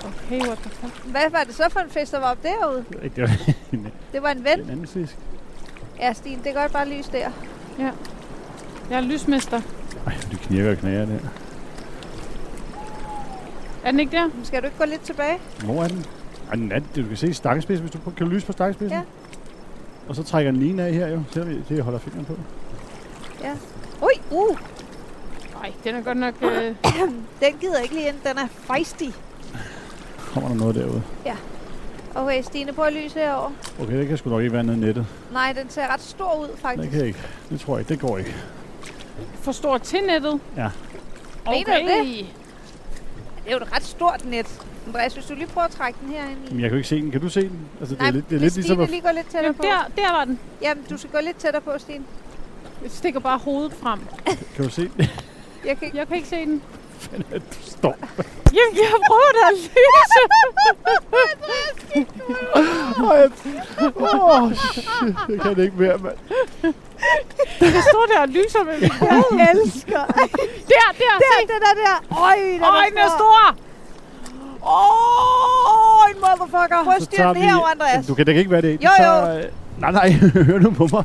[SPEAKER 5] Okay, what the fuck?
[SPEAKER 4] Hvad var det så for en fisk, der var op derude?
[SPEAKER 3] det er ikke det, var en,
[SPEAKER 4] Det var en ven.
[SPEAKER 3] en anden fisk.
[SPEAKER 4] Ja, Stine, det er godt bare lys der.
[SPEAKER 5] Jeg er lysmester.
[SPEAKER 3] Ej, det knirker og knager der.
[SPEAKER 5] Er den ikke der?
[SPEAKER 4] Skal du ikke gå lidt tilbage?
[SPEAKER 3] Hvor er den? Ej, den er, du kan se stangspidsen, hvis du kan du lyse på stangspidsen.
[SPEAKER 4] Ja.
[SPEAKER 3] Og så trækker den lige af her jo, selvom jeg, det jeg holder fingeren på.
[SPEAKER 4] Ui, uh,
[SPEAKER 5] Nej, den er godt nok... Øh,
[SPEAKER 4] den gider ikke lige ind. Den er fejstig.
[SPEAKER 3] Kommer der noget derude?
[SPEAKER 4] Okay, Stine, prøv at lyse herover.
[SPEAKER 3] Okay, det kan sgu nok ikke være nede i nettet.
[SPEAKER 4] Nej, den ser ret stor ud,
[SPEAKER 3] Det
[SPEAKER 4] faktisk.
[SPEAKER 3] kan jeg ikke. Det tror jeg ikke. Det går ikke.
[SPEAKER 5] for stor til nettet.
[SPEAKER 3] Ja.
[SPEAKER 5] Okay.
[SPEAKER 4] Mener du det? Det er jo et ret stort net. Andreas, hvis du lige prøver at trække den herind i.
[SPEAKER 3] Men jeg kan jo ikke se den. Kan du se den? Altså, det er,
[SPEAKER 4] Nej,
[SPEAKER 3] lidt, det er
[SPEAKER 4] hvis
[SPEAKER 3] lidt ligesom
[SPEAKER 4] Stine
[SPEAKER 3] at...
[SPEAKER 4] lige går lidt
[SPEAKER 5] Ja,
[SPEAKER 4] tættere på.
[SPEAKER 5] der, der var den.
[SPEAKER 4] Jamen, du skal gå lidt tættere på, Stine.
[SPEAKER 5] Jeg stikker bare hovedet frem.
[SPEAKER 3] Kan du se den?
[SPEAKER 4] Jeg kan ikke...
[SPEAKER 5] Jeg kan ikke se den.
[SPEAKER 3] du står.
[SPEAKER 5] Jamen, jeg prøver da at lyse.
[SPEAKER 3] Åh, jeg... oh, shit. Jeg kan ikke mere, mand.
[SPEAKER 5] Jeg står der og lyser med mit hoved.
[SPEAKER 4] Jeg elsker.
[SPEAKER 5] Der, der,
[SPEAKER 4] Der,
[SPEAKER 5] se.
[SPEAKER 4] den er der. Øj, den
[SPEAKER 5] Åh, den er stor.
[SPEAKER 4] Åh, en motherfucker. Prøv at
[SPEAKER 3] Så
[SPEAKER 4] styre
[SPEAKER 3] tager
[SPEAKER 4] den
[SPEAKER 3] vi-
[SPEAKER 4] herover, Andreas.
[SPEAKER 3] Du kan da ikke være det.
[SPEAKER 4] Jo,
[SPEAKER 3] Så,
[SPEAKER 4] jo.
[SPEAKER 3] øh, nej, nej. Hør nu på mig.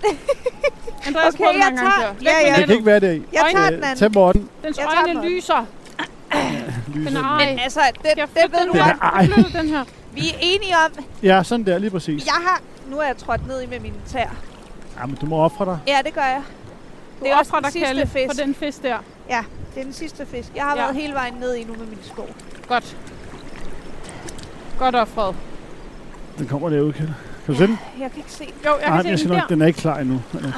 [SPEAKER 5] Andreas
[SPEAKER 4] Okay,
[SPEAKER 5] prøvede den
[SPEAKER 4] jeg
[SPEAKER 5] mange gange
[SPEAKER 4] tager-
[SPEAKER 5] før. Læg
[SPEAKER 4] Ja,
[SPEAKER 5] den
[SPEAKER 4] ja.
[SPEAKER 5] ned
[SPEAKER 3] Det kan
[SPEAKER 5] nu.
[SPEAKER 3] ikke være det.
[SPEAKER 4] Jeg tager
[SPEAKER 3] Øh,
[SPEAKER 4] den anden.
[SPEAKER 3] Tag Morten.
[SPEAKER 5] Dens
[SPEAKER 4] Jeg tager
[SPEAKER 5] øjne
[SPEAKER 4] den.
[SPEAKER 5] lyser.
[SPEAKER 3] Lyset.
[SPEAKER 5] Men ej.
[SPEAKER 4] Men altså, det,
[SPEAKER 5] Skal jeg
[SPEAKER 4] det
[SPEAKER 5] flytte
[SPEAKER 4] ved
[SPEAKER 5] den
[SPEAKER 4] du
[SPEAKER 5] her?
[SPEAKER 4] godt.
[SPEAKER 5] Skal jeg flytte den her?
[SPEAKER 4] Vi er enige om,
[SPEAKER 3] Ja, sådan der, lige præcis.
[SPEAKER 4] jeg har... Nu er jeg trådt ned i med mine tæer.
[SPEAKER 3] Ja, men du må ofre dig.
[SPEAKER 4] Ja, det gør jeg.
[SPEAKER 5] Du
[SPEAKER 4] Det er også
[SPEAKER 5] offrer
[SPEAKER 4] den
[SPEAKER 5] dig,
[SPEAKER 4] sidste
[SPEAKER 5] Kalle,
[SPEAKER 4] fisk.
[SPEAKER 5] for den fisk der.
[SPEAKER 4] Ja, det er den sidste fisk. Jeg har
[SPEAKER 5] Ja.
[SPEAKER 4] ja. været hele vejen ned i nu med mine sko.
[SPEAKER 5] Godt. Godt offret.
[SPEAKER 3] Den kommer derude, Kjell. Kan du se den?
[SPEAKER 4] Jeg kan ikke se den.
[SPEAKER 5] Jo, jeg
[SPEAKER 3] Nej,
[SPEAKER 5] kan
[SPEAKER 3] men jeg
[SPEAKER 5] se
[SPEAKER 3] siger
[SPEAKER 5] den
[SPEAKER 3] nok,
[SPEAKER 5] der.
[SPEAKER 3] den er ikke klar endnu. Men, øh,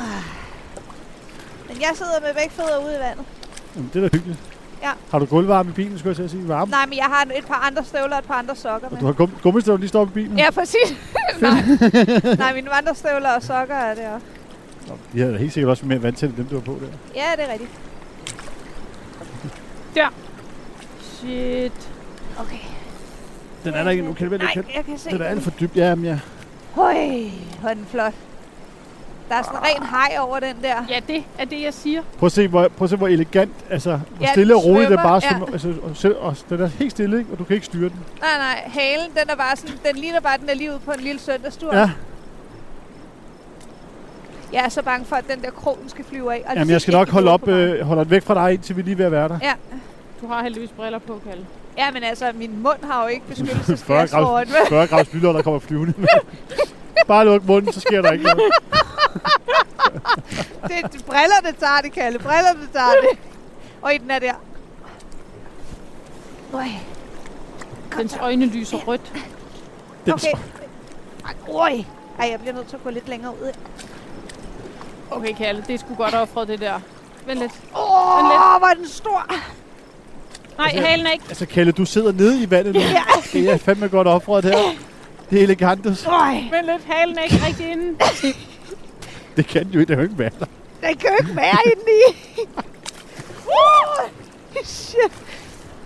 [SPEAKER 4] Men jeg sidder med begge fødder ude i vandet.
[SPEAKER 3] Jamen, det er da hyggeligt.
[SPEAKER 4] Ja.
[SPEAKER 3] Har du gulvvarme i bilen, skulle jeg til at sige? Varme?
[SPEAKER 4] Nej, men jeg har et par andre støvler og et par andre sokker
[SPEAKER 3] Og
[SPEAKER 4] med.
[SPEAKER 3] du har gum- gummistøvlen lige stoppet i bilen?
[SPEAKER 4] Ja, præcis. Nej. Nej, mine andre støvler og sokker er det også.
[SPEAKER 3] Nå, de havde da helt sikkert også mere vand til end dem, du var på der.
[SPEAKER 4] Ja, det er rigtigt.
[SPEAKER 5] Shit.
[SPEAKER 4] Okay.
[SPEAKER 3] Den er der ikke endnu, Kjell. Vent
[SPEAKER 4] Nej,
[SPEAKER 3] lidt, Kjeld.
[SPEAKER 4] jeg kan se
[SPEAKER 3] Den er alt
[SPEAKER 4] den.
[SPEAKER 3] for dybt. Ja, men ja.
[SPEAKER 4] Høj, hvor er den flot. Der er sådan
[SPEAKER 3] Ah.
[SPEAKER 4] en ren hej over den der.
[SPEAKER 5] Ja, det er det, jeg siger.
[SPEAKER 3] Prøv at se, hvor, prøv at se, hvor elegant, altså, hvor
[SPEAKER 4] Ja,
[SPEAKER 3] stille
[SPEAKER 4] den
[SPEAKER 3] og roligt det
[SPEAKER 4] svømmer,
[SPEAKER 3] bare
[SPEAKER 4] ja.
[SPEAKER 3] som, altså, og, selv, og, den er helt stille, ikke? og du kan ikke styre den.
[SPEAKER 4] Nej, nej, halen, den er bare sådan, den ligner bare, at den er lige ude på en lille søndagstur.
[SPEAKER 3] Ja,
[SPEAKER 4] Jeg er så bange for, at den der krog, den skal flyve af. Og
[SPEAKER 3] Jamen, jeg skal
[SPEAKER 4] lige
[SPEAKER 3] nok
[SPEAKER 4] i
[SPEAKER 3] holde,
[SPEAKER 4] hovedet
[SPEAKER 3] op,
[SPEAKER 4] på mig.
[SPEAKER 3] øh, holde den væk fra dig, indtil vi lige er ved at være der.
[SPEAKER 4] Ja.
[SPEAKER 5] Du har heldigvis briller på, Kalle.
[SPEAKER 4] ja, men altså, min mund har jo ikke
[SPEAKER 3] 40
[SPEAKER 4] beskyttelsesglas foran.
[SPEAKER 3] grads, 40 grads lydder, der kommer flyvende. bare luk munden, så sker der ikke noget.
[SPEAKER 4] Det, det, brillerne tager det, Kalle. Brillerne tager det. Og i den er der. Øj.
[SPEAKER 5] Dens øjne lyser rødt.
[SPEAKER 3] Den
[SPEAKER 4] Okay. Øj. Ej, jeg bliver nødt til at gå lidt længere ud.
[SPEAKER 5] Okay, Kalle, det skulle godt offret, det der. Vent lidt. Men lidt.
[SPEAKER 4] Åh, oh, hvor er den stor.
[SPEAKER 5] Nej, halen er ikke.
[SPEAKER 3] Altså, Kalle, du sidder nede i vandet nu. Det er fandme godt offret her. Det er elegantes.
[SPEAKER 4] Øj.
[SPEAKER 5] Vent lidt, halen er ikke rigtig inde.
[SPEAKER 3] Det kan jo ikke, det kan jo ikke være der.
[SPEAKER 4] Den kan jo ikke være inde i. Uh, shit.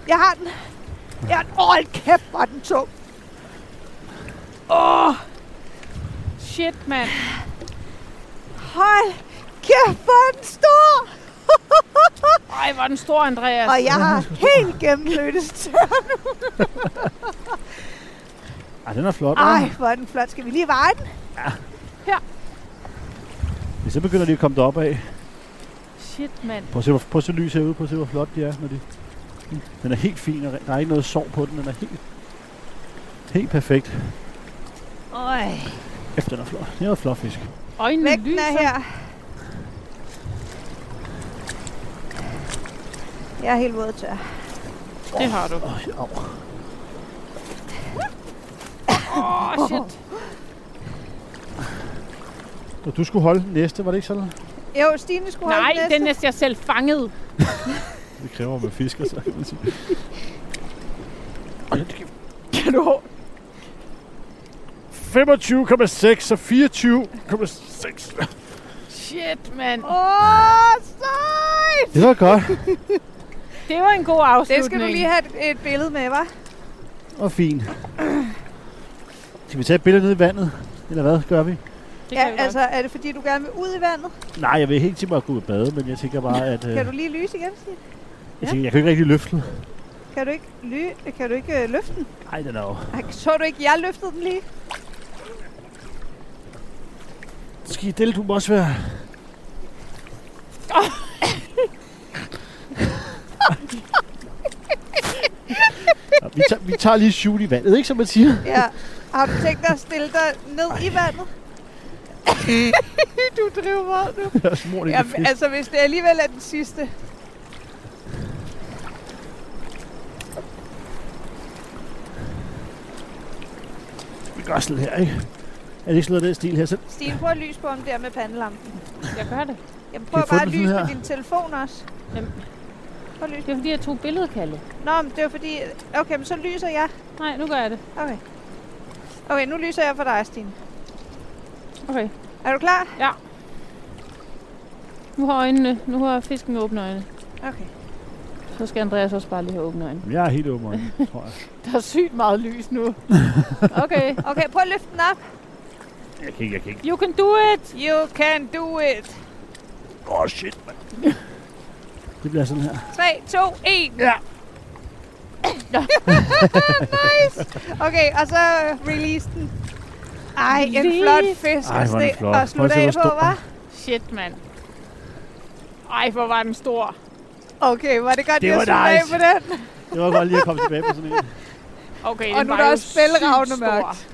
[SPEAKER 4] Jeg har den. Jeg har den. Åh, oh, kæft, hvor er den tung. Åh, oh,
[SPEAKER 5] Shit, mand.
[SPEAKER 4] hold kæft, hvor er den stor.
[SPEAKER 5] Ej, hvor er den stor, Andreas.
[SPEAKER 4] Og jeg har helt gennemblødt tør.
[SPEAKER 3] Ej, den er flot.
[SPEAKER 4] Ej,
[SPEAKER 3] hva'?
[SPEAKER 4] hvor er den flot. Skal vi lige veje den?
[SPEAKER 3] Ja, så begynder de at komme derop af.
[SPEAKER 5] Shit, mand.
[SPEAKER 3] Prøv at se, hvor, prøv at se lys herude. Prøv at se, hvor flot de er. Når de, den er helt fin, og re- der er ikke noget sår på den. Den er helt, helt perfekt.
[SPEAKER 4] Øj.
[SPEAKER 3] Efter den er flot. Det er noget flot fisk.
[SPEAKER 5] Øjnene
[SPEAKER 4] Vægten
[SPEAKER 5] lyser.
[SPEAKER 4] er her. Jeg er helt våd og tør.
[SPEAKER 5] Det har du.
[SPEAKER 3] Øj, au.
[SPEAKER 5] Åh, oh, shit.
[SPEAKER 3] Og du skulle holde den næste, var det ikke sådan?
[SPEAKER 4] Jo, Stine skulle
[SPEAKER 5] Nej,
[SPEAKER 4] holde den
[SPEAKER 5] den
[SPEAKER 4] næste.
[SPEAKER 5] er jeg selv fanget.
[SPEAKER 3] Det kræver med fisker, så kan man sige. Hold da kæft.
[SPEAKER 5] Kan du
[SPEAKER 3] 25,6 så 24,6.
[SPEAKER 5] Shit, mand.
[SPEAKER 4] Åh, sejt!
[SPEAKER 3] Det var godt.
[SPEAKER 5] Det var en god afslutning.
[SPEAKER 4] Det skal du lige have et, et billede med, hva'?
[SPEAKER 3] Og fint. Skal vi tage et billede ned i vandet? Eller hvad gør vi?
[SPEAKER 5] Det kan
[SPEAKER 4] Ja,
[SPEAKER 5] jeg
[SPEAKER 4] altså, er det fordi, du gerne vil ud i vandet?
[SPEAKER 3] Nej, jeg vil helt til mig at gå ud og bade, men jeg tænker bare, at øh,
[SPEAKER 4] Kan du lige lyse igen, Stine?
[SPEAKER 3] jeg, tænker, jeg kan ikke rigtig løfte den.
[SPEAKER 4] Kan du ikke, ly- kan du ikke øh, løfte den?
[SPEAKER 3] Ej, den er jo...
[SPEAKER 4] Ej, så du ikke, jeg løftede den lige?
[SPEAKER 3] Skal det du må også være... Nå, vi, tager, vi tager lige shoot i vandet, ikke som man siger?
[SPEAKER 4] Ja. Har du tænkt dig at stille dig ned i vandet? du driver meget nu.
[SPEAKER 3] Jeg smurt ikke
[SPEAKER 4] Jamen,
[SPEAKER 3] fisk.
[SPEAKER 4] altså, hvis det alligevel er den sidste.
[SPEAKER 3] Vi gør sådan her, ikke? Er det ikke sådan noget af den stil her? Så
[SPEAKER 4] Stine, prøv at lyse på ham der med pandelampen.
[SPEAKER 5] godt. Jeg gør det.
[SPEAKER 4] Jamen, prøv
[SPEAKER 3] Kan
[SPEAKER 4] bare
[SPEAKER 3] jeg få
[SPEAKER 4] at
[SPEAKER 3] den
[SPEAKER 4] lyse
[SPEAKER 3] sådan
[SPEAKER 4] med
[SPEAKER 3] her?
[SPEAKER 4] din telefon også.
[SPEAKER 5] Jamen.
[SPEAKER 4] Prøv at lyse.
[SPEAKER 5] Det er fordi, jeg tog billedkaldet.
[SPEAKER 4] Nå, men det var fordi... Okay, men så lyser jeg.
[SPEAKER 5] Nej, nu gør jeg det.
[SPEAKER 4] Okay. Okay, nu lyser jeg for dig, Stine.
[SPEAKER 5] Okay.
[SPEAKER 4] Er du klar?
[SPEAKER 5] Nu har, øjnene, nu har fisken åbne øjne.
[SPEAKER 4] Okay.
[SPEAKER 5] Så skal Andreas også bare lige have åbne øjne.
[SPEAKER 3] jeg er helt åben, øjne, tror jeg.
[SPEAKER 5] Der er sygt meget lys nu. Okay.
[SPEAKER 4] Okay, prøv at løfte den op.
[SPEAKER 3] Jeg kan ikke, jeg kan ikke.
[SPEAKER 5] You can do it.
[SPEAKER 4] You can do it.
[SPEAKER 3] Åh, oh, shit, mand. Det bliver sådan her.
[SPEAKER 4] 3, 2, 1.
[SPEAKER 3] Ja.
[SPEAKER 4] nice. Okay, og så release den. Ej, en
[SPEAKER 5] Lige.
[SPEAKER 4] flot fisk
[SPEAKER 3] Ej,
[SPEAKER 4] at
[SPEAKER 3] hvor er den
[SPEAKER 4] ste-
[SPEAKER 3] flot.
[SPEAKER 4] at
[SPEAKER 3] Prøv at
[SPEAKER 4] slutte
[SPEAKER 3] se,
[SPEAKER 4] af
[SPEAKER 3] hvor
[SPEAKER 4] på,
[SPEAKER 3] stor.
[SPEAKER 4] hva'?
[SPEAKER 5] Shit, mand. Ej, hvor var den stor.
[SPEAKER 4] Okay, var det godt,
[SPEAKER 3] Det
[SPEAKER 4] jeg
[SPEAKER 3] var
[SPEAKER 4] slutte af
[SPEAKER 3] nice.
[SPEAKER 4] på den?
[SPEAKER 3] Det var godt lige at komme tilbage på sådan en.
[SPEAKER 5] Okay,
[SPEAKER 4] Og
[SPEAKER 5] den
[SPEAKER 4] nu
[SPEAKER 5] var
[SPEAKER 4] er der
[SPEAKER 5] jo
[SPEAKER 4] også bælragende
[SPEAKER 5] sygt stor.
[SPEAKER 4] mørkt.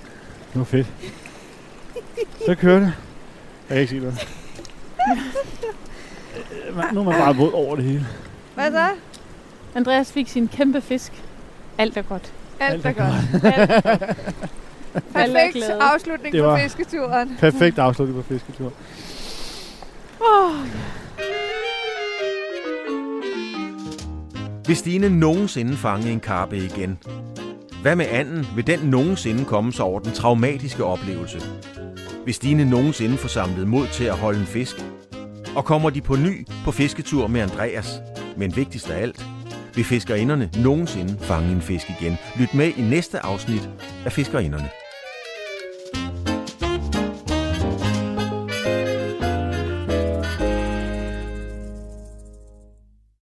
[SPEAKER 3] Det var fedt. Så kører det. Jeg kan ikke se noget. Øh, man- Nu er man bare våd over det hele.
[SPEAKER 4] Hvad så?
[SPEAKER 5] Andreas fik sin kæmpe fisk. Alt er godt.
[SPEAKER 4] Alt er godt.
[SPEAKER 5] Alle er
[SPEAKER 4] Perfekt
[SPEAKER 5] glade.
[SPEAKER 4] afslutning
[SPEAKER 3] Det
[SPEAKER 4] på
[SPEAKER 3] var-
[SPEAKER 4] fisketuren.
[SPEAKER 3] Perfekt afslutning på fisketur.
[SPEAKER 1] Vil Stine nogensinde fange en karpe igen? Hvad med anden? Vil den nogensinde komme sig over den traumatiske oplevelse? Vil Stine nogensinde få samlet mod til at holde en fisk? Og kommer de på ny på fisketur med Andreas? Men vigtigst af alt, vil fiskerinderne nogensinde fange en fisk igen? Lyt med i næste afsnit af Fiskerinderne.